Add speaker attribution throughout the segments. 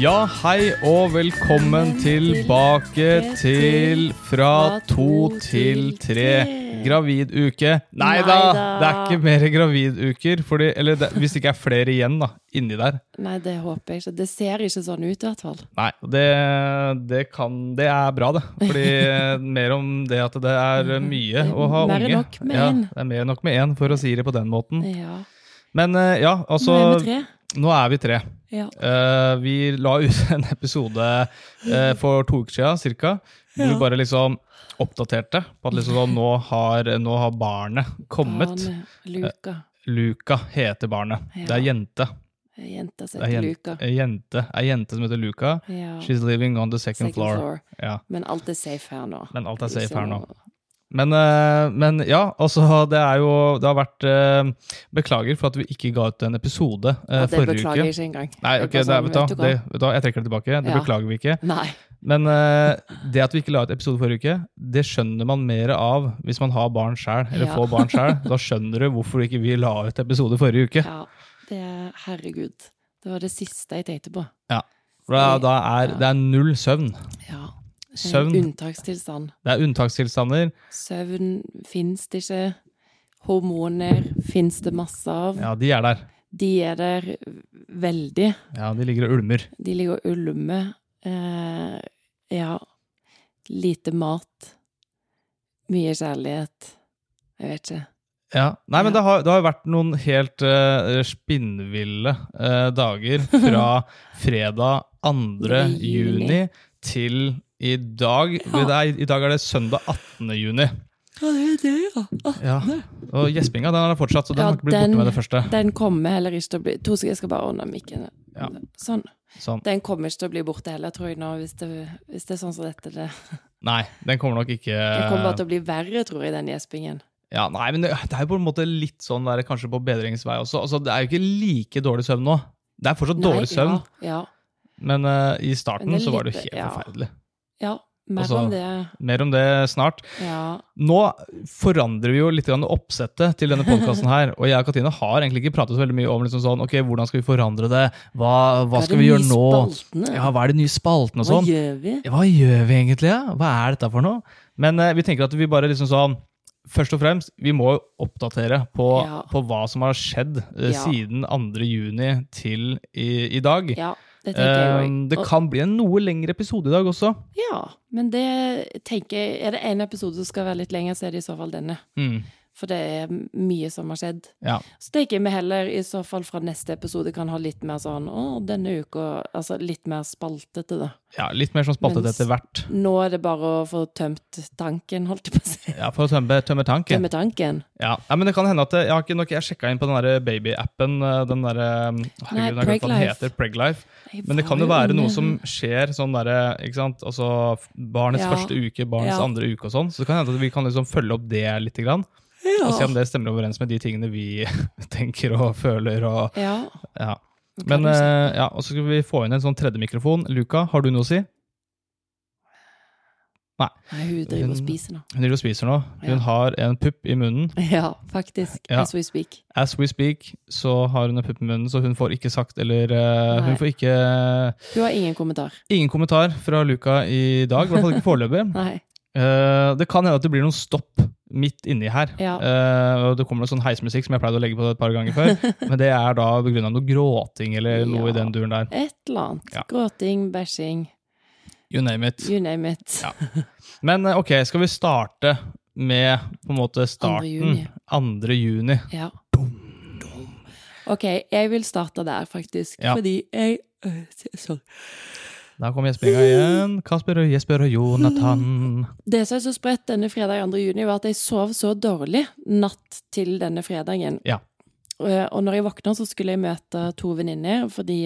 Speaker 1: Ja, hei og velkommen tilbake til Fra to til tre. Graviduke. Nei da,
Speaker 2: Neida.
Speaker 1: det er ikke mer graviduker. Fordi, eller det, hvis det ikke er flere igjen, da. Inni der.
Speaker 2: Nei, det håper jeg ikke. Det ser ikke sånn ut, i hvert fall.
Speaker 1: Nei, det, det kan Det er bra, det. Fordi mer om det at det er mye å ha
Speaker 2: Mer
Speaker 1: unge.
Speaker 2: enn nok med
Speaker 1: ja,
Speaker 2: en.
Speaker 1: det er mer enn nok med én, for å si det på den måten.
Speaker 2: Ja.
Speaker 1: Men eh, ja, altså
Speaker 2: Nå er vi tre.
Speaker 1: Nå er vi tre.
Speaker 2: Ja.
Speaker 1: Eh, vi la ut en episode eh, for to uker siden, cirka, hvor vi
Speaker 2: Ja.
Speaker 1: bare liksom oppdaterte på at liksom sånn, nå, har, nå har barnet kommet.
Speaker 2: Arne, Luka.
Speaker 1: Luka heter barnet.
Speaker 2: Ja.
Speaker 1: Det er jente.
Speaker 2: Eh, Jenta som
Speaker 1: Det er
Speaker 2: heter
Speaker 1: jen-
Speaker 2: Luka.
Speaker 1: Ei jente, ei jente som heter Luka.
Speaker 2: Ja.
Speaker 1: She's living on the second,
Speaker 2: Second
Speaker 1: floor.
Speaker 2: floor.
Speaker 1: Ja,
Speaker 2: Men alt er safe her nå.
Speaker 1: men alt er safe
Speaker 2: Ikke
Speaker 1: her nå.
Speaker 2: noe-
Speaker 1: Men, eh, men ja, altså det er jo Det har vært eh, Beklager for at vi ikke ga ut en episode eh,
Speaker 2: Ja, det
Speaker 1: forrige
Speaker 2: beklager
Speaker 1: uke.
Speaker 2: jeg ikke engang.
Speaker 1: Nei,
Speaker 2: Jeg
Speaker 1: ok,
Speaker 2: bare
Speaker 1: det,
Speaker 2: sånn,
Speaker 1: vet, du, hva,
Speaker 2: vet du hva?
Speaker 1: det, vet du hva, jeg trekker det tilbake. Det
Speaker 2: Ja.
Speaker 1: beklager vi ikke.
Speaker 2: Nei.
Speaker 1: Men eh, det at vi ikke la ut episode forrige uke, det skjønner man mer av hvis man har barn sjøl, eller
Speaker 2: Ja.
Speaker 1: får barn sjøl. Da skjønner du hvorfor ikke vi la ut episode forrige uke.
Speaker 2: Ja. Det er Herregud. Det var det siste jeg tenkte på.
Speaker 1: For da, da er det er null søvn.
Speaker 2: Ja. En
Speaker 1: Søvn.
Speaker 2: Unntakstilstand.
Speaker 1: Det er unntakstilstander.
Speaker 2: Søvn fins det ikke. Hormoner fins det masse av.
Speaker 1: Ja, de er der.
Speaker 2: De er der veldig.
Speaker 1: Ja, de ligger og ulmer.
Speaker 2: De ligger og ulmer. Eh, ja. Lite mat. Mye kjærlighet. Jeg vet ikke.
Speaker 1: Ja. Nei, men
Speaker 2: Ja.
Speaker 1: det har, det har jo vært noen helt eh, spinnville eh, dager fra fredag 2.
Speaker 2: Juni.
Speaker 1: juni til i dag.
Speaker 2: Ja.
Speaker 1: Det er, I dag er det søndag 18. juni.
Speaker 2: Ja, det er det, ja.
Speaker 1: Ja, og gjespinga den er fortsatt, så den
Speaker 2: Ja,
Speaker 1: har ikke blitt
Speaker 2: den-
Speaker 1: borte med det første.
Speaker 2: Den kommer heller ikke til å bli To sekunder, jeg skal bare ordne mikken.
Speaker 1: Ja.
Speaker 2: Sånn.
Speaker 1: Sånn.
Speaker 2: Den kommer ikke til å bli borte heller, tror jeg nå, hvis det, hvis det er sånn som dette. Det.
Speaker 1: Nei, den kommer nok ikke
Speaker 2: Den kommer bare til å bli verre, tror jeg, den gjespingen.
Speaker 1: ja, Nei, men det det er jo på en måte litt sånn der, kanskje på bedringsvei også. Altså, det er jo ikke like dårlig søvn nå. Det er fortsatt dårlig
Speaker 2: Nei,
Speaker 1: søvn,
Speaker 2: Ja.
Speaker 1: men eh, i starten
Speaker 2: Men det
Speaker 1: så
Speaker 2: er
Speaker 1: var det jo
Speaker 2: litt-
Speaker 1: helt
Speaker 2: ja.
Speaker 1: forferdelig.
Speaker 2: ja. ja mer
Speaker 1: Altså-
Speaker 2: om det.
Speaker 1: Mer om det snart.
Speaker 2: Ja.
Speaker 1: Nå forandrer vi jo litt grann oppsettet til denne podkasten her. Og jeg og Katrine har egentlig ikke pratet så veldig mye om liksom sånn, ok, hvordan skal vi forandre det, hva, hva skal vi gjøre nå? Ja,
Speaker 2: Ja,
Speaker 1: hva er de nye spaltene og
Speaker 2: Hva
Speaker 1: sånn?
Speaker 2: gjør vi?
Speaker 1: Hva gjør vi egentlig? Ja? Hva er dette for noe? Men eh, vi tenker at vi bare liksom sånn Først og fremst, vi må jo oppdatere på,
Speaker 2: Ja.
Speaker 1: på hva som har skjedd eh,
Speaker 2: Ja.
Speaker 1: siden 2. juni til i, i dag.
Speaker 2: Ja, det tenker jeg
Speaker 1: Eh,
Speaker 2: òg.
Speaker 1: det kan bli en noe lengre episode i dag også.
Speaker 2: Ja, men det tenker jeg Er det en episode som skal være litt lenger, så er det i så fall denne.
Speaker 1: Mm.
Speaker 2: For det er mye som har skjedd.
Speaker 1: Ja.
Speaker 2: Så tenker jeg vi heller i så fall fra neste episode kan ha litt mer sånn Å, denne uka Altså litt mer spaltete, da.
Speaker 1: ja, litt mer sånn spaltet
Speaker 2: Mens-
Speaker 1: etter hvert.
Speaker 2: Nå er det bare å få tømt tanken, holdt jeg på å si.
Speaker 1: Ja, For å tømme, tømme tanken.
Speaker 2: Tømme tanken.
Speaker 1: Ja. ja, men det kan hende at eh, Jeg har ikke nok, jeg sjekka inn på den der babyappen, eh, den derre
Speaker 2: Nei,
Speaker 1: Herregud, jeg har glemt hva den
Speaker 2: Preglife.
Speaker 1: heter. Preglife.
Speaker 2: Jeg
Speaker 1: Men det
Speaker 2: var
Speaker 1: kan jo være
Speaker 2: inne-
Speaker 1: noe som skjer sånn derre ikke sant? Altså f- barnets
Speaker 2: Ja.
Speaker 1: første uke, barnets
Speaker 2: Ja.
Speaker 1: andre uke og sånn. Så det kan hende at vi kan liksom følge opp det litt. Grann,
Speaker 2: ja.
Speaker 1: Og se om det stemmer overens med de tingene vi tenker og føler og
Speaker 2: ja.
Speaker 1: ja.
Speaker 2: Hva
Speaker 1: Men
Speaker 2: kan du si?
Speaker 1: eh, ja, og så skal vi få inn en sånn tredje mikrofon. Luka, har du noe å si?
Speaker 2: Nei, hun driver og
Speaker 1: hun-
Speaker 2: spiser nå.
Speaker 1: Hun driver og spiser nå.
Speaker 2: Ja.
Speaker 1: Hun har en pupp i munnen.
Speaker 2: Ja, faktisk.
Speaker 1: Ja.
Speaker 2: As we speak.
Speaker 1: As we speak, så har hun en pupp i munnen, så hun får ikke sagt eller eh,
Speaker 2: Nei.
Speaker 1: Hun får ikke eh,
Speaker 2: Hun har ingen kommentar.
Speaker 1: Ingen kommentar fra Luka i dag, i hvert fall ikke foreløpig.
Speaker 2: Nei.
Speaker 1: Eh, det kan hende at det blir noen stopp midt inni her.
Speaker 2: Ja.
Speaker 1: Eh, og det kommer noe sånn heismusikk som jeg pleide å legge på et par ganger før. men det er da begrunna noe gråting eller noe
Speaker 2: Ja.
Speaker 1: i den duren der.
Speaker 2: Et eller annet.
Speaker 1: Ja.
Speaker 2: Gråting, bæsjing,
Speaker 1: You name it.
Speaker 2: you name it.
Speaker 1: Ja. Men eh, ok, skal vi starte med på en måte starten?
Speaker 2: juni.
Speaker 1: 2. juni.
Speaker 2: Ja. Ok, jeg vil starte der, faktisk.
Speaker 1: Ja.
Speaker 2: Fordi jeg øh, sorry.
Speaker 1: Der kommer gjespinga igjen. Kasper og Jesper og Jonathan.
Speaker 2: Det som er så spredt denne fredag 2. juni, var at jeg sov så dårlig natt til denne fredagen.
Speaker 1: Ja.
Speaker 2: Eh, Og når jeg våkna, så skulle jeg møte to venninner, fordi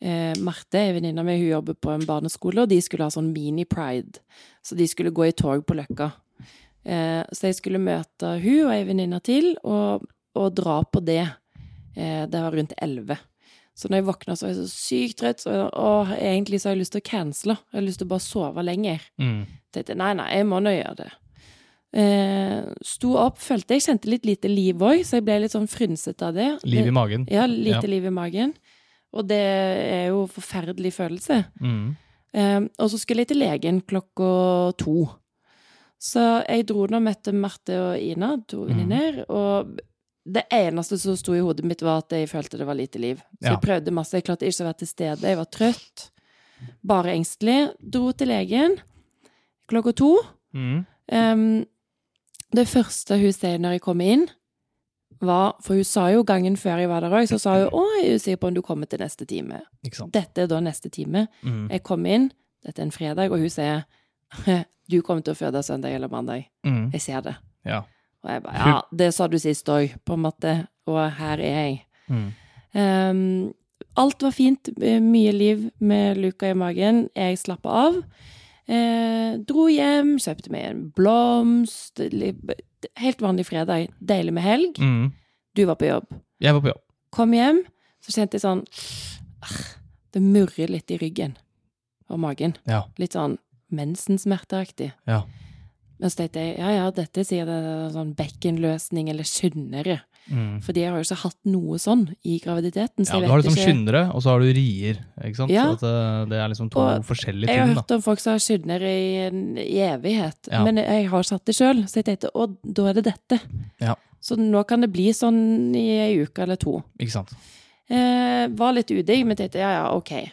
Speaker 2: eh, Marte, ei venninne av meg, hun jobber på en barneskole, og de skulle ha sånn mini-pride. Så de skulle gå i tog på Løkka. Eh, så jeg skulle møte hun og ei venninne til, og, og dra på det. Eh, det var rundt elleve. Så når jeg våkna, så var jeg så sykt trøtt, så, og egentlig så har jeg lyst til å cancele. Jeg har lyst til å bare sove lenger
Speaker 1: Mm.
Speaker 2: tenkte jeg, nei, nei, jeg må nå gjøre det. Eh, sto opp, følte jeg kjente litt lite liv òg, så jeg ble litt sånn frynsete av det.
Speaker 1: Liv i magen.
Speaker 2: Ja, lite
Speaker 1: Ja.
Speaker 2: liv i magen. Og det er jo en forferdelig følelse.
Speaker 1: Mm.
Speaker 2: Eh, og så skulle jeg til legen klokka to. Så jeg dro nå og møtte Marte og Ina, to venninner. Og det eneste som sto i hodet mitt, var at jeg følte det var lite liv. Så
Speaker 1: Ja.
Speaker 2: jeg prøvde masse. Jeg klarte ikke å være til stede. Jeg var trøtt. Bare engstelig. Dro til legen klokka to.
Speaker 1: Mm.
Speaker 2: Ehm, det første hun sier når jeg kommer inn, var For hun sa jo gangen før jeg var der òg, så sa hun 'Å, jeg er usikker på om du kommer til neste time'.
Speaker 1: Ikke sant.
Speaker 2: Dette er da neste time.
Speaker 1: Mm.
Speaker 2: Jeg kom inn, dette er en fredag, og hun sier du kommer til å føde søndag eller mandag.
Speaker 1: Mm.
Speaker 2: Jeg ser det.
Speaker 1: Ja.
Speaker 2: Og jeg bare ja, det sa du sist òg, på en måte, og her er jeg.
Speaker 1: Mm.
Speaker 2: Ehm, alt var fint, eh, mye liv med luka i magen. Jeg slappa av. Eh, dro hjem, kjøpte meg en blomst. li- Helt vanlig fredag. Deilig med helg.
Speaker 1: Mm.
Speaker 2: Du var på jobb.
Speaker 1: Jeg var på jobb.
Speaker 2: Kom hjem, så kjente jeg sånn ah, Det murrer litt i ryggen og magen.
Speaker 1: Ja.
Speaker 2: Litt sånn mensensmerteaktig.
Speaker 1: Ja.
Speaker 2: Men så tenkte jeg ja, ja, dette sier det er sånn bekkenløsning eller skyndere.
Speaker 1: Mm.
Speaker 2: Fordi jeg har jo ikke hatt noe sånn i graviditeten. Så
Speaker 1: Ja,
Speaker 2: jeg
Speaker 1: du har
Speaker 2: vet
Speaker 1: liksom
Speaker 2: ikke.
Speaker 1: skyndere, og så har du rier. ikke sant?
Speaker 2: Ja.
Speaker 1: Så at det, det er liksom to
Speaker 2: Og
Speaker 1: forskjellige
Speaker 2: Jeg har
Speaker 1: ting. da.
Speaker 2: hørt om folk som har skyndere i, en- i evighet,
Speaker 1: Ja.
Speaker 2: men jeg har satt det sjøl, så jeg tenkte å, da er det dette.
Speaker 1: Ja.
Speaker 2: Så nå kan det bli sånn i ei uke eller to.
Speaker 1: Ikke sant?
Speaker 2: Eh, var litt udigg, men tenkte ja, ja, ok.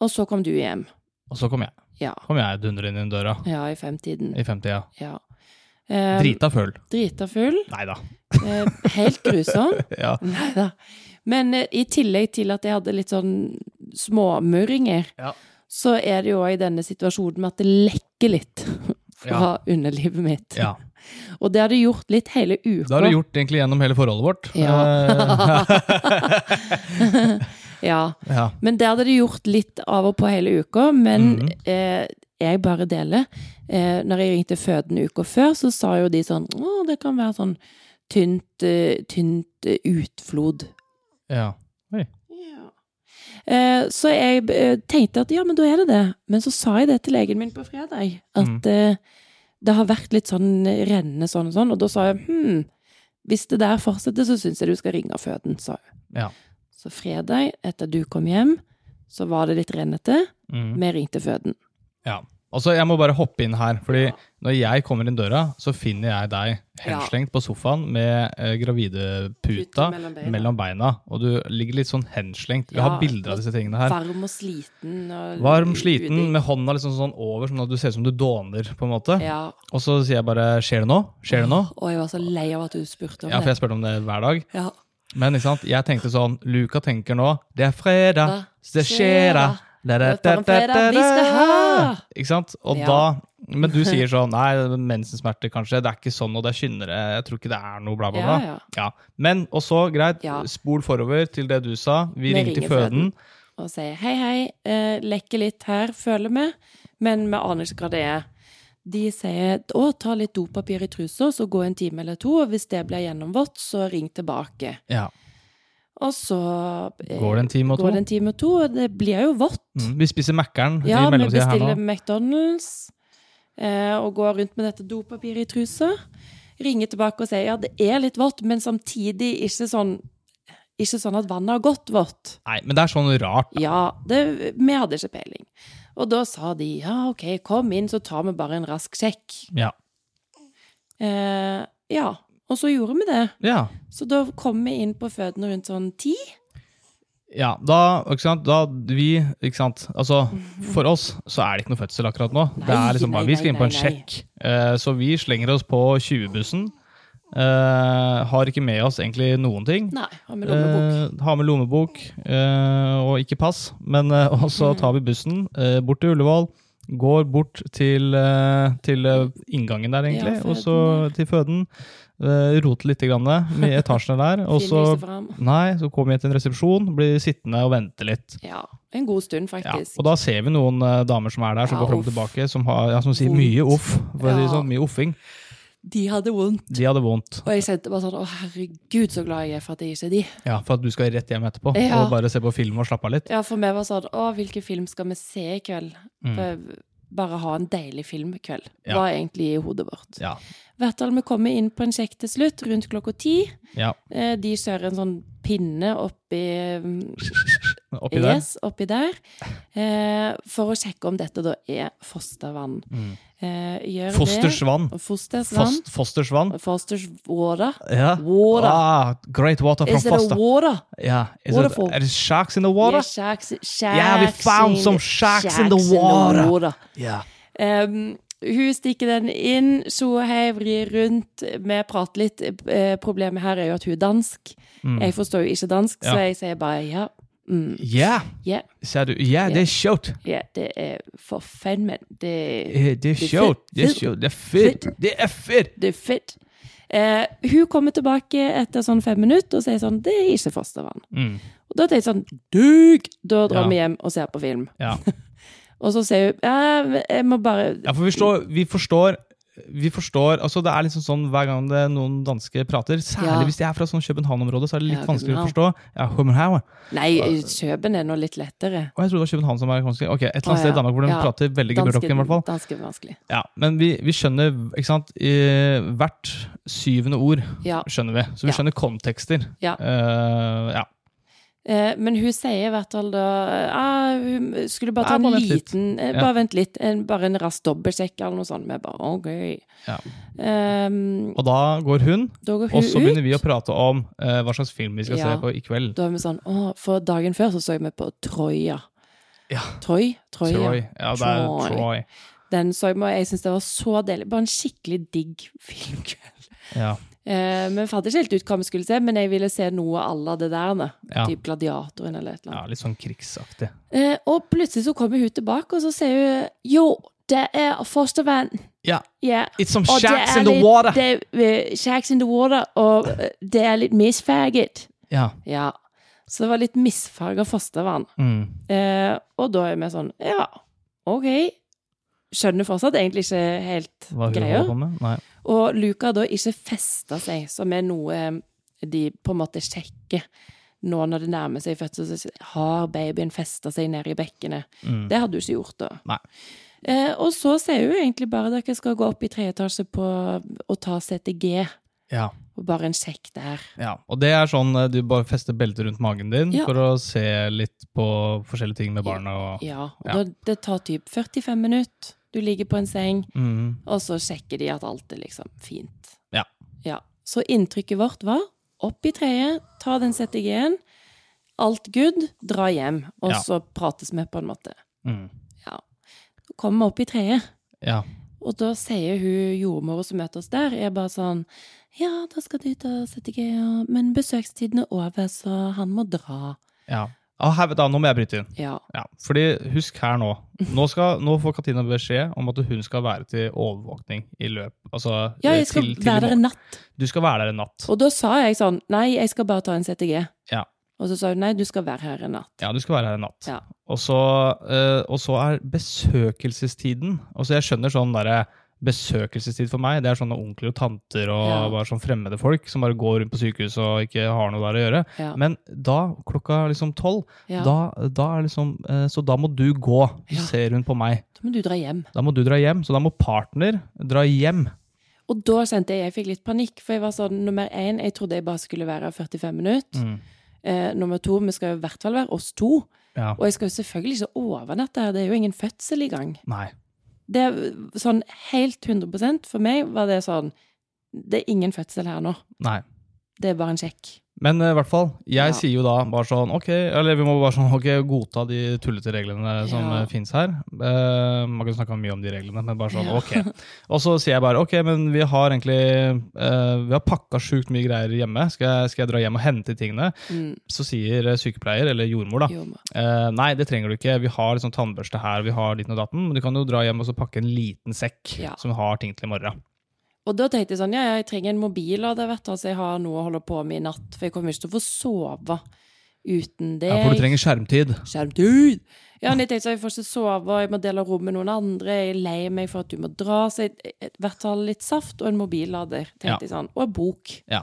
Speaker 2: Og så kom du hjem.
Speaker 1: Og så kom jeg.
Speaker 2: Ja.
Speaker 1: Kom jeg dundrende inn døra
Speaker 2: Ja, i femtiden.
Speaker 1: i femtida.
Speaker 2: Ja. Eh,
Speaker 1: Drita full.
Speaker 2: Drita full.
Speaker 1: Nei da.
Speaker 2: Eh, helt grusom.
Speaker 1: Ja.
Speaker 2: Nei da. Men eh, i tillegg til at jeg hadde litt sånn småmurringer,
Speaker 1: Ja.
Speaker 2: så er det jo òg denne situasjonen med at det lekker litt fra underlivet mitt.
Speaker 1: ja.
Speaker 2: Og det har det gjort litt hele uka.
Speaker 1: Det har du gjort egentlig gjennom hele forholdet vårt.
Speaker 2: Ja. Ja.
Speaker 1: Eh, ja.
Speaker 2: Men det hadde det gjort litt av og på hele uka, men
Speaker 1: Mhm.
Speaker 2: eh, jeg bare deler. Eh, når jeg ringte fødende uka før, så sa jo de sånn Å, det kan være sånn tynt, eh, tynt eh, utflod.
Speaker 1: ja.
Speaker 2: Eh, så jeg eh, tenkte at ja, men da er det det. Men så sa jeg det til legen min på fredag.
Speaker 1: Mm.
Speaker 2: At eh, det har vært litt sånn rennende sånn og sånn. Og da sa jeg hm, hvis det der fortsetter, så syns jeg du skal ringe føden, sa hun.
Speaker 1: Ja.
Speaker 2: Så fredag, etter du kom hjem, så var det litt rennete.
Speaker 1: Mm.
Speaker 2: Vi ringte føden.
Speaker 1: Ja. Altså, jeg må bare hoppe inn her, fordi når jeg kommer inn døra, så finner jeg deg
Speaker 2: Ja.
Speaker 1: henslengt på sofaen med eh, gravideputa
Speaker 2: Puta mellom beina.
Speaker 1: mellom beina, og du ligger litt sånn henslengt. Vi
Speaker 2: Ja,
Speaker 1: har bilder av disse tingene her.
Speaker 2: Varm og sliten. Og
Speaker 1: Varm, sliten,
Speaker 2: udigg.
Speaker 1: med hånda liksom sånn over, sånn at du ser ut som du dåner, på en måte.
Speaker 2: Ja.
Speaker 1: Og så sier jeg bare 'skjer det nå?' Skjer det nå?
Speaker 2: Og jeg var så lei av at du spurte om
Speaker 1: Ja, for jeg
Speaker 2: det.
Speaker 1: spurte om det hver dag.
Speaker 2: Ja.
Speaker 1: Men ikke sant? jeg tenkte sånn Luca tenker nå Det er fredag, det skjer da. Da, da,
Speaker 2: Det er bare en fredag vi skal ha.
Speaker 1: Ikke sant? Og
Speaker 2: Ja.
Speaker 1: da Men du sier sånn Nei, mensensmerter, kanskje. Det er ikke sånn, og det er kynnere. Jeg tror ikke det er noe, bla, bla, bla.
Speaker 2: Ja, ja.
Speaker 1: Men, og så, greit,
Speaker 2: Ja.
Speaker 1: spol forover til det du sa. Vi
Speaker 2: Vi
Speaker 1: ringte
Speaker 2: ringer
Speaker 1: føden.
Speaker 2: Og sier hei, hei, eh, lekker litt her, føler vi, men vi aner ikke hva det er. De sier å, ta litt dopapir i trusa, så gå en time eller to, og hvis det blir gjennomvått, så ring tilbake.
Speaker 1: Ja.
Speaker 2: Og så eh,
Speaker 1: Går det en time og to?
Speaker 2: går det en time og to, og det blir jo vått.
Speaker 1: Mm, vi spiser Mækkern
Speaker 2: Ja,
Speaker 1: i
Speaker 2: vi
Speaker 1: mellomtida her
Speaker 2: bestiller
Speaker 1: nå.
Speaker 2: McDonald's eh, og går rundt med dette dopapiret i trusa. Ringer tilbake og sier ja, det er litt vått, men samtidig ikke sånn, ikke sånn at vannet har gått vått.
Speaker 1: Nei, men det er sånn rart.
Speaker 2: Ja, det, vi hadde ikke peiling. Og da sa de ja, ok, kom inn, så tar vi bare en rask sjekk.
Speaker 1: Ja.
Speaker 2: Eh, ja, og så gjorde vi det.
Speaker 1: ja.
Speaker 2: Så da kom vi inn på fødende rundt sånn ti.
Speaker 1: Ja, da, ikke sant? da vi ikke sant? Altså, For oss så er det ikke noe fødsel akkurat nå. det
Speaker 2: Nei,
Speaker 1: er liksom bare,
Speaker 2: nei,
Speaker 1: Vi skal inn på en
Speaker 2: nei, nei.
Speaker 1: sjekk. Eh, så vi slenger oss på 20-bussen. Eh, har ikke med oss egentlig noen ting.
Speaker 2: Nei, har vi lommebok.
Speaker 1: Eh, har med lommebok eh, og ikke pass. Men eh, og så tar vi bussen eh, bort til Ullevål. Går bort til, eh, til eh, inngangen der, egentlig,
Speaker 2: Ja,
Speaker 1: og så
Speaker 2: føden,
Speaker 1: til føden. Eh, roter litt grann med etasjene der. Og
Speaker 2: Finner
Speaker 1: så
Speaker 2: ikke fram.
Speaker 1: Nei, så kommer jeg til en resepsjon, blir sittende og vente litt.
Speaker 2: Ja, en god stund,
Speaker 1: Ja,
Speaker 2: faktisk.
Speaker 1: og da ser vi noen eh, damer som er der, som
Speaker 2: Ja,
Speaker 1: går fram og
Speaker 2: uff.
Speaker 1: tilbake, som, har, ja, som sier
Speaker 2: Vondt.
Speaker 1: mye uff. For å si det
Speaker 2: Ja.
Speaker 1: sånn, mye uffing.
Speaker 2: De hadde vondt.
Speaker 1: De hadde vondt.
Speaker 2: Og jeg kjente bare sånn å herregud, så glad jeg er for at jeg ikke er de.
Speaker 1: Ja, For at du skal rett hjem etterpå
Speaker 2: Ja.
Speaker 1: og bare se på film og slappe av litt.
Speaker 2: Ja, for meg var sånn Å, hvilken film skal vi se i kveld? For Bare ha en deilig filmkveld.
Speaker 1: Mm. Ja.
Speaker 2: Var egentlig i hodet vårt.
Speaker 1: Ja.
Speaker 2: Hvertfall vi kommer inn på en sjekk til slutt, rundt klokka ti.
Speaker 1: ja.
Speaker 2: Eh, De kjører en sånn pinne oppi mm,
Speaker 1: Oppi der.
Speaker 2: Yes, oppi der. Eh, for å sjekke om dette da er fostervann.
Speaker 1: Mm.
Speaker 2: Eh, gjør
Speaker 1: Fostersvann.
Speaker 2: det. Fostersvann.
Speaker 1: Fost, fostersvann.
Speaker 2: Fosters water.
Speaker 1: Ja.
Speaker 2: Water.
Speaker 1: Ah, great water from
Speaker 2: Is it
Speaker 1: foster.
Speaker 2: a water?
Speaker 1: Yeah. Is it,
Speaker 2: waterfall?
Speaker 1: are there sharks in the water?
Speaker 2: Yeah, sharks, sharks
Speaker 1: Yeah, we found
Speaker 2: in-
Speaker 1: some sharks in the water. Yeah.
Speaker 2: Em, Ehm, hun stikker den inn, Sohei vrir rundt, vi prater litt. Eh, problemet her er jo at hun er dansk. Jeg forstår jo ikke dansk, så
Speaker 1: Mm. Ja.
Speaker 2: jeg sier bare ja. Mm,
Speaker 1: Yeah.
Speaker 2: yeah,
Speaker 1: Sa du. Yeah, det er kjøtt.
Speaker 2: yeah, det er for fan, men det,
Speaker 1: Eh, Det er
Speaker 2: Det er
Speaker 1: kjøtt.
Speaker 2: fett.
Speaker 1: Det er kjøtt. Det er fett. Det er fett.
Speaker 2: det er fett. Eh, hun kommer tilbake etter sånn fem minutter og sier sånn Det er ikke fostervann.
Speaker 1: Mm.
Speaker 2: Og da tenker jeg sånn Dug! Da drar
Speaker 1: Ja.
Speaker 2: vi hjem og ser på film.
Speaker 1: Ja.
Speaker 2: Og så sier hun «Ja, Jeg må bare
Speaker 1: Ja, for vi forstår, vi forstår vi forstår, altså Det er liksom sånn hver gang det noen dansker prater, særlig
Speaker 2: Ja.
Speaker 1: hvis de er fra sånn København-området, så er det litt
Speaker 2: Ja,
Speaker 1: vanskeligere å forstå.
Speaker 2: København.
Speaker 1: Ja, København.
Speaker 2: Nei, Kjøben er nå litt lettere.
Speaker 1: Og jeg trodde det var København som var vanskelig. Ok, Et eller
Speaker 2: Å,
Speaker 1: annet sted
Speaker 2: ja.
Speaker 1: i Danmark hvor de
Speaker 2: Ja.
Speaker 1: prater veldig gebrokken, i hvert fall.
Speaker 2: danske er vanskelig.
Speaker 1: Ja, Men vi, vi skjønner ikke sant, i hvert syvende ord.
Speaker 2: Ja.
Speaker 1: skjønner vi. Så vi
Speaker 2: Ja.
Speaker 1: skjønner kontekster.
Speaker 2: Ja.
Speaker 1: Eh, ja.
Speaker 2: Eh, men hun sier i hvert fall da ah, Hun skulle bare ta
Speaker 1: Ja, bare
Speaker 2: en
Speaker 1: vent litt.
Speaker 2: liten eh,
Speaker 1: Ja.
Speaker 2: Bare vent litt. En, bare en rask dobbeltsjekk eller noe sånt. Vi bare OK.
Speaker 1: Ja.
Speaker 2: Ehm,
Speaker 1: Og da går hun,
Speaker 2: da går hun
Speaker 1: og så
Speaker 2: ut.
Speaker 1: begynner vi å prate om eh, hva slags film vi skal
Speaker 2: Ja.
Speaker 1: se på i kveld.
Speaker 2: Da er vi sånn Å, for dagen før så så vi på Troja.
Speaker 1: Ja.
Speaker 2: Troy? Troja.
Speaker 1: Troy. Ja, det er
Speaker 2: Troy.
Speaker 1: Troy.
Speaker 2: Den så vi, og jeg syns det var så deilig. Bare en skikkelig digg filmkveld.
Speaker 1: Ja.
Speaker 2: Eh, men fant ikke helt ut hva vi skulle se, men jeg ville se noe à la det der. ne.
Speaker 1: Ja.
Speaker 2: Typ Gladiatoren eller et eller
Speaker 1: ja,
Speaker 2: annet.
Speaker 1: litt sånn krigsaktig.
Speaker 2: Eh, og plutselig så kommer hun tilbake, og så sier hun Jo, det er fostervann.
Speaker 1: Ja.
Speaker 2: Ja.
Speaker 1: It's some
Speaker 2: Og det
Speaker 1: shacks
Speaker 2: er
Speaker 1: in the
Speaker 2: litt-
Speaker 1: water!
Speaker 2: Det, er, eh, shacks in the water, og eh, det er litt misfarget.
Speaker 1: Ja.
Speaker 2: Ja. Så det var litt misfarga fostervann.
Speaker 1: Mm.
Speaker 2: Eh, og da er vi sånn Ja, OK. Skjønner fortsatt egentlig ikke helt
Speaker 1: Hva hun
Speaker 2: greia.
Speaker 1: holder på med? Nei.
Speaker 2: Og Luca har da ikke festa seg, som er noe øh, de på en måte sjekker nå når det nærmer seg fødsel. så sier de, Har babyen festa seg nede i bekkenet?
Speaker 1: Mm.
Speaker 2: Det hadde hun ikke gjort da.
Speaker 1: Nei.
Speaker 2: Eh, og så sier hun egentlig bare at dere skal gå opp i tredje etasje på, og ta CTG.
Speaker 1: Ja.
Speaker 2: Og bare en sjekk der.
Speaker 1: ja. Og det er sånn eh, du bare fester beltet rundt magen din
Speaker 2: Ja.
Speaker 1: for å se litt på forskjellige ting med barna og
Speaker 2: Ja, og
Speaker 1: Ja.
Speaker 2: Da, Det tar typ 45 minutter. Du ligger på en seng,
Speaker 1: mm.
Speaker 2: og så sjekker de at alt er liksom fint.
Speaker 1: Ja.
Speaker 2: ja. Så inntrykket vårt var opp i tredje, ta den CTG-en, alt good, dra hjem. Og
Speaker 1: Ja.
Speaker 2: så prates vi på en måte.
Speaker 1: Mm.
Speaker 2: Så kommer vi opp i tredje.
Speaker 1: Ja.
Speaker 2: Og da sier hun jordmora som møter oss der, er bare sånn Ja, da skal du ut og sette G, ja, men besøkstiden er over, så han må dra.
Speaker 1: ja. Ah, her, vet du, nå må jeg bryte inn.
Speaker 2: Ja.
Speaker 1: Ja, fordi husk her nå. Nå, skal, nå får Katina beskjed om at hun skal være til overvåkning i løp. Altså,
Speaker 2: Ja,
Speaker 1: eh,
Speaker 2: jeg skal
Speaker 1: til- til i
Speaker 2: være der en natt.
Speaker 1: morgen. Du skal være der en natt.
Speaker 2: Og da sa jeg sånn Nei, jeg skal bare ta en CTG.
Speaker 1: Ja.
Speaker 2: Og så sa hun nei, du skal være her en natt.
Speaker 1: Ja, du skal være her en natt.
Speaker 2: Ja.
Speaker 1: Og, så, eh, og så er besøkelsestiden Og så jeg skjønner sånn derre Besøkelsestid for meg, det er sånne onkler og tanter og
Speaker 2: Ja.
Speaker 1: bare sånn fremmede folk som bare går rundt på sykehuset og ikke har noe der å gjøre.
Speaker 2: Ja.
Speaker 1: Men da, klokka liksom tolv,
Speaker 2: ja. Da,
Speaker 1: da, da er liksom eh, Så da må du gå,
Speaker 2: Ja.
Speaker 1: ser hun på meg.
Speaker 2: må du dra hjem.
Speaker 1: Da må du dra hjem, så da må partner dra hjem.
Speaker 2: Og da kjente jeg jeg fikk litt panikk, for jeg var sånn nummer én, jeg trodde jeg bare skulle være her 45 minutter.
Speaker 1: Mm.
Speaker 2: Eh, nummer to, vi skal jo i hvert fall være oss to.
Speaker 1: Ja.
Speaker 2: Og jeg skal jo selvfølgelig ikke overnatte her, det er jo ingen fødsel i gang.
Speaker 1: Nei.
Speaker 2: det sånn helt 100 for meg var det sånn Det er ingen fødsel her nå.
Speaker 1: Nei.
Speaker 2: Det er bare en sjekk.
Speaker 1: Men eh, i hvert fall, jeg
Speaker 2: Ja.
Speaker 1: sier jo da bare sånn ok, Eller vi må bare sånn, ok, godta de tullete reglene som
Speaker 2: Ja.
Speaker 1: eh, finnes her. Eh, man kan snakke mye om de reglene, men bare sånn
Speaker 2: Ja.
Speaker 1: ok. Og så sier jeg bare ok, men vi har egentlig eh, vi har pakka sjukt mye greier hjemme. Skal jeg, skal jeg dra hjem og hente tingene?
Speaker 2: Mm,
Speaker 1: Så sier eh, sykepleier, eller jordmor, da
Speaker 2: jo, ma-
Speaker 1: eh, nei, det trenger du ikke. Vi har liksom tannbørste her, vi har ditten og datten. Men du kan jo dra hjem og så pakke en liten sekk
Speaker 2: Ja.
Speaker 1: som har ting til i morgen.
Speaker 2: og da tenkte jeg sånn, ja, ja, jeg trenger en mobillader, vet du, så jeg har noe å holde på med i natt. For jeg kommer ikke til å få sove uten det.
Speaker 1: Ja, for du trenger skjermtid.
Speaker 2: Skjermtid! Ja, men jeg tenkte sånn, jeg får ikke sove, og jeg må dele rom med noen andre, jeg er lei meg for at du må dra, så jeg, i hvert fall litt saft og en mobillader,
Speaker 1: Ja.
Speaker 2: tenkte jeg sånn. Og en bok.
Speaker 1: Ja.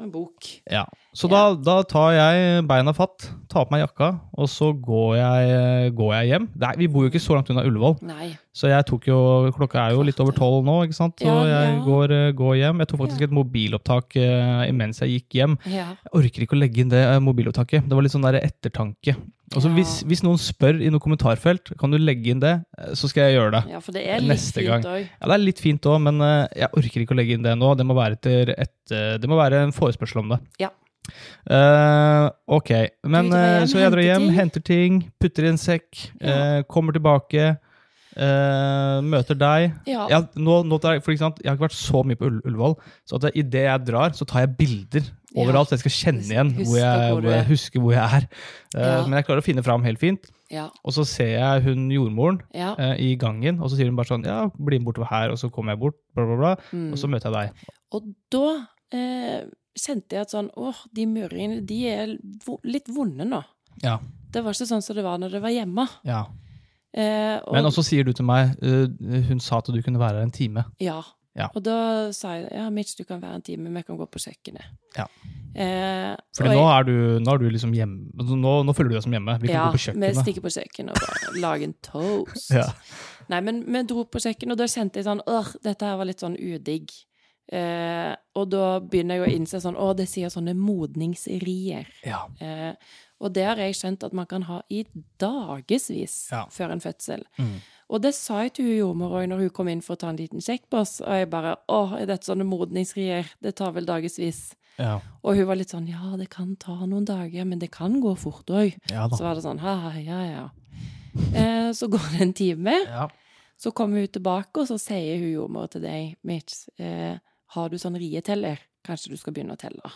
Speaker 2: Og en bok.
Speaker 1: Ja. Så da, da tar jeg beina fatt, tar på meg jakka, og så går jeg, går jeg hjem. Nei, vi bor jo ikke så langt unna Ullevål,
Speaker 2: Nei.
Speaker 1: så jeg tok jo, klokka er jo litt over tolv nå, ikke sant? så
Speaker 2: Ja,
Speaker 1: jeg
Speaker 2: ja.
Speaker 1: går, eh, går hjem. Jeg tok faktisk
Speaker 2: Ja.
Speaker 1: et mobilopptak eh, imens jeg gikk hjem.
Speaker 2: Ja.
Speaker 1: Jeg orker ikke å legge inn det eh, mobilopptaket. Det var litt sånn der ettertanke. Og så
Speaker 2: Ja.
Speaker 1: hvis, hvis noen spør i noe kommentarfelt, kan du legge inn det, Eh, så skal jeg gjøre det.
Speaker 2: ja, for det er litt
Speaker 1: Neste gang.
Speaker 2: fint òg.
Speaker 1: Ja, Det er litt fint òg, men eh, jeg orker ikke å legge inn det nå. Det må være, etter et, eh, det må være en forespørsel om det.
Speaker 2: Ja.
Speaker 1: Eh, ok. Men
Speaker 2: Du drar hjem,
Speaker 1: eh, så jeg drar
Speaker 2: henter
Speaker 1: hjem,
Speaker 2: ting.
Speaker 1: henter ting, putter i en sekk,
Speaker 2: Ja.
Speaker 1: eh, kommer tilbake, eh, møter deg.
Speaker 2: Ja.
Speaker 1: Jeg, nå, nå tar jeg, for ikke sant, jeg har ikke vært så mye på Ull- Ullevål, så at idet jeg drar, så tar jeg bilder
Speaker 2: Ja.
Speaker 1: overalt. så Jeg skal kjenne
Speaker 2: Husk-
Speaker 1: igjen hvor
Speaker 2: husker
Speaker 1: jeg,
Speaker 2: hvor du
Speaker 1: hvor jeg
Speaker 2: er.
Speaker 1: husker hvor jeg er. Eh,
Speaker 2: Ja.
Speaker 1: Men jeg klarer å finne fram helt fint.
Speaker 2: ja,
Speaker 1: Og så ser jeg hun jordmoren
Speaker 2: ja.
Speaker 1: eh, i gangen, og så sier hun bare sånn Ja, bli med bortover her, og så kommer jeg bort, bla, bla, bla.
Speaker 2: Mm.
Speaker 1: Og så møter jeg deg.
Speaker 2: Og da eh, kjente jeg at sånn Åh, de murringene, de er vo litt vonde nå.
Speaker 1: Ja.
Speaker 2: Det var ikke sånn som det var når det var hjemme.
Speaker 1: ja.
Speaker 2: Eh, og,
Speaker 1: Men også sier du til meg eh, Hun sa at du kunne være her en time.
Speaker 2: ja.
Speaker 1: Ja.
Speaker 2: Og da sa jeg ja, Mitch, du kan være en time, vi kan gå på kjøkkenet.
Speaker 1: Ja.
Speaker 2: Eh,
Speaker 1: Fordi
Speaker 2: og
Speaker 1: nå
Speaker 2: jeg-
Speaker 1: er, du, nå er du liksom hjemme. altså, Nå, nå føler du deg som hjemme. Vi kan
Speaker 2: ja,
Speaker 1: gå på
Speaker 2: Vi
Speaker 1: kjøkkenet.
Speaker 2: stikker på kjøkkenet og bare lager en toast.
Speaker 1: Ja.
Speaker 2: Nei, men vi dro på kjøkkenet, og da kjente jeg sånn Åh, dette her var litt sånn udigg. Eh, og da begynner jeg å innse sånn Å, det sier sånne modningsrier.
Speaker 1: Ja.
Speaker 2: Eh, og det har jeg skjønt at man kan ha i dagevis
Speaker 1: Ja.
Speaker 2: før en fødsel.
Speaker 1: Mm.
Speaker 2: Og det sa jeg til hun jordmor òg når hun kom inn for å ta en liten sjekk på oss. Og jeg bare Å, er dette sånne modningsrier? Det tar vel dagevis.
Speaker 1: Ja.
Speaker 2: Og hun var litt sånn Ja, det kan ta noen dager, men det kan gå fort òg.
Speaker 1: ja
Speaker 2: Så
Speaker 1: da.
Speaker 2: var det sånn Ha, ha, ja, ja. Eh, så går det en time,
Speaker 1: Ja.
Speaker 2: så kommer hun tilbake, og så sier hun jordmor til deg, Mitch, eh, har du sånn rieteller? Kanskje du skal begynne å telle?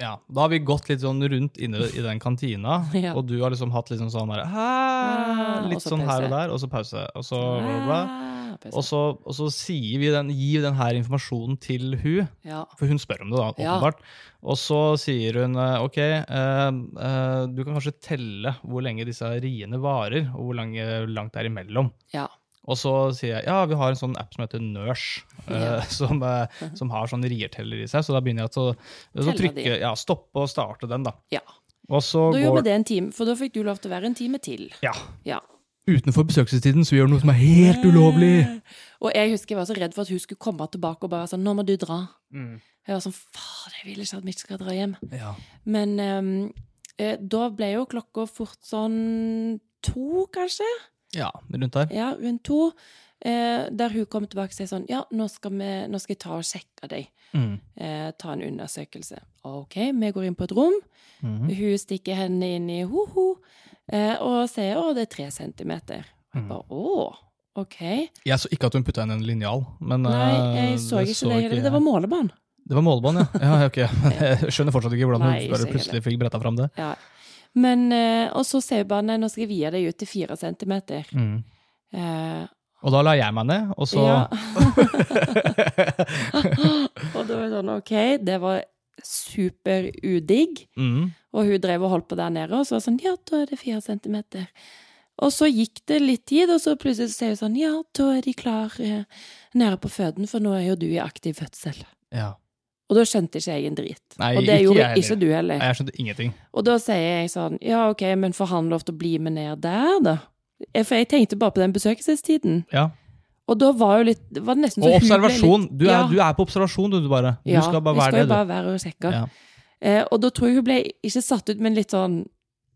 Speaker 1: ja. Da har vi gått litt sånn rundt inne i den kantina,
Speaker 2: Ja.
Speaker 1: og du har liksom hatt liksom sånn der
Speaker 2: Ah,
Speaker 1: «Hæ?»
Speaker 2: og
Speaker 1: Litt
Speaker 2: så
Speaker 1: sånn her
Speaker 2: pause.
Speaker 1: og der, og så pause, og så bla, bla, bla.
Speaker 2: Ah, pause.
Speaker 1: Og så, og så sier vi den, gir vi den her informasjonen til hun,
Speaker 2: ja.
Speaker 1: For hun spør om det, da,
Speaker 2: Ja.
Speaker 1: åpenbart. Og så sier hun eh, OK, eh, eh, du kan kanskje telle hvor lenge disse riene varer, og hvor lange, langt det er imellom.
Speaker 2: Ja.
Speaker 1: Og så sier jeg ja, vi har en sånn app som heter Nurse, eh,
Speaker 2: Ja.
Speaker 1: som, eh, som har sånn rierteller i seg. Så da begynner jeg til å så
Speaker 2: Telle de.
Speaker 1: trykke, ja, stoppe og starte den, da.
Speaker 2: ja.
Speaker 1: Og så
Speaker 2: Da gjør vi
Speaker 1: går
Speaker 2: det en time, for da fikk du lov til å være en time til.
Speaker 1: Ja.
Speaker 2: Ja.
Speaker 1: Utenfor besøkelsestiden, så vi gjør noe som er helt ulovlig!
Speaker 2: Og jeg husker jeg var så redd for at hun skulle komme tilbake og bare være sånn 'Nå må du dra'.
Speaker 1: Mm.
Speaker 2: Jeg var sånn 'Faen, jeg vil ikke at Mitch skal dra hjem'.
Speaker 1: Ja.
Speaker 2: Men ehm, eh, da ble jo klokka fort sånn to, kanskje?
Speaker 1: ja, rundt der.
Speaker 2: Ja, rundt to. Eh, der hun kom tilbake og sa sånn 'Ja, nå skal, vi, nå skal jeg ta og sjekke deg'.
Speaker 1: Mm.
Speaker 2: Eh, ta en undersøkelse. OK, vi går inn på et rom.
Speaker 1: Mhm.
Speaker 2: Hun stikker hendene inn i ho-ho eh, og sier 'Å, det er tre centimeter'. Og jeg bare 'Å, ok'.
Speaker 1: Jeg så ikke at hun putta inn en linjal, men
Speaker 2: Nei,
Speaker 1: eh,
Speaker 2: jeg så ikke det heller.
Speaker 1: jeg.
Speaker 2: Det var målebånd.
Speaker 1: Det var målebånd, ja. ja ok. Jeg skjønner fortsatt ikke hvordan
Speaker 2: Nei,
Speaker 1: hun bare
Speaker 2: ikke
Speaker 1: plutselig fikk bretta fram det.
Speaker 2: Ja. Men, eh, og så sier hun bare nei, nå skal jeg vie deg ut til fire centimeter. Eh,
Speaker 1: Og da la jeg meg ned, og så
Speaker 2: Ja. og da var det sånn, ok, det var superudigg.
Speaker 1: mm.
Speaker 2: Og hun drev og holdt på der nede, og så var det sånn, ja, da er det fire centimeter. Og så gikk det litt tid, og så plutselig sier hun sånn, ja, da er de klar eh, nede på føden, for nå er jo du i aktiv fødsel.
Speaker 1: ja.
Speaker 2: Og da skjønte ikke jeg en drit.
Speaker 1: Nei,
Speaker 2: og det
Speaker 1: ikke
Speaker 2: gjorde
Speaker 1: jeg
Speaker 2: ikke du heller.
Speaker 1: Nei, Jeg skjønte ingenting.
Speaker 2: Og da sier jeg sånn, ja ok, men får han lov til å bli med ned der, da? Eh, For jeg tenkte bare på den besøkelsestiden.
Speaker 1: Ja.
Speaker 2: Og da var jo litt det var nesten
Speaker 1: Og
Speaker 2: så hun ble
Speaker 1: observasjon!
Speaker 2: litt-
Speaker 1: Du er,
Speaker 2: Ja,
Speaker 1: du er på observasjon, du, du bare. Du
Speaker 2: ja,
Speaker 1: skal bare
Speaker 2: vi
Speaker 1: være
Speaker 2: jo
Speaker 1: det,
Speaker 2: bare være og
Speaker 1: du.
Speaker 2: sjekke.
Speaker 1: Ja.
Speaker 2: Eh, og da tror jeg hun ble ikke satt ut, men litt sånn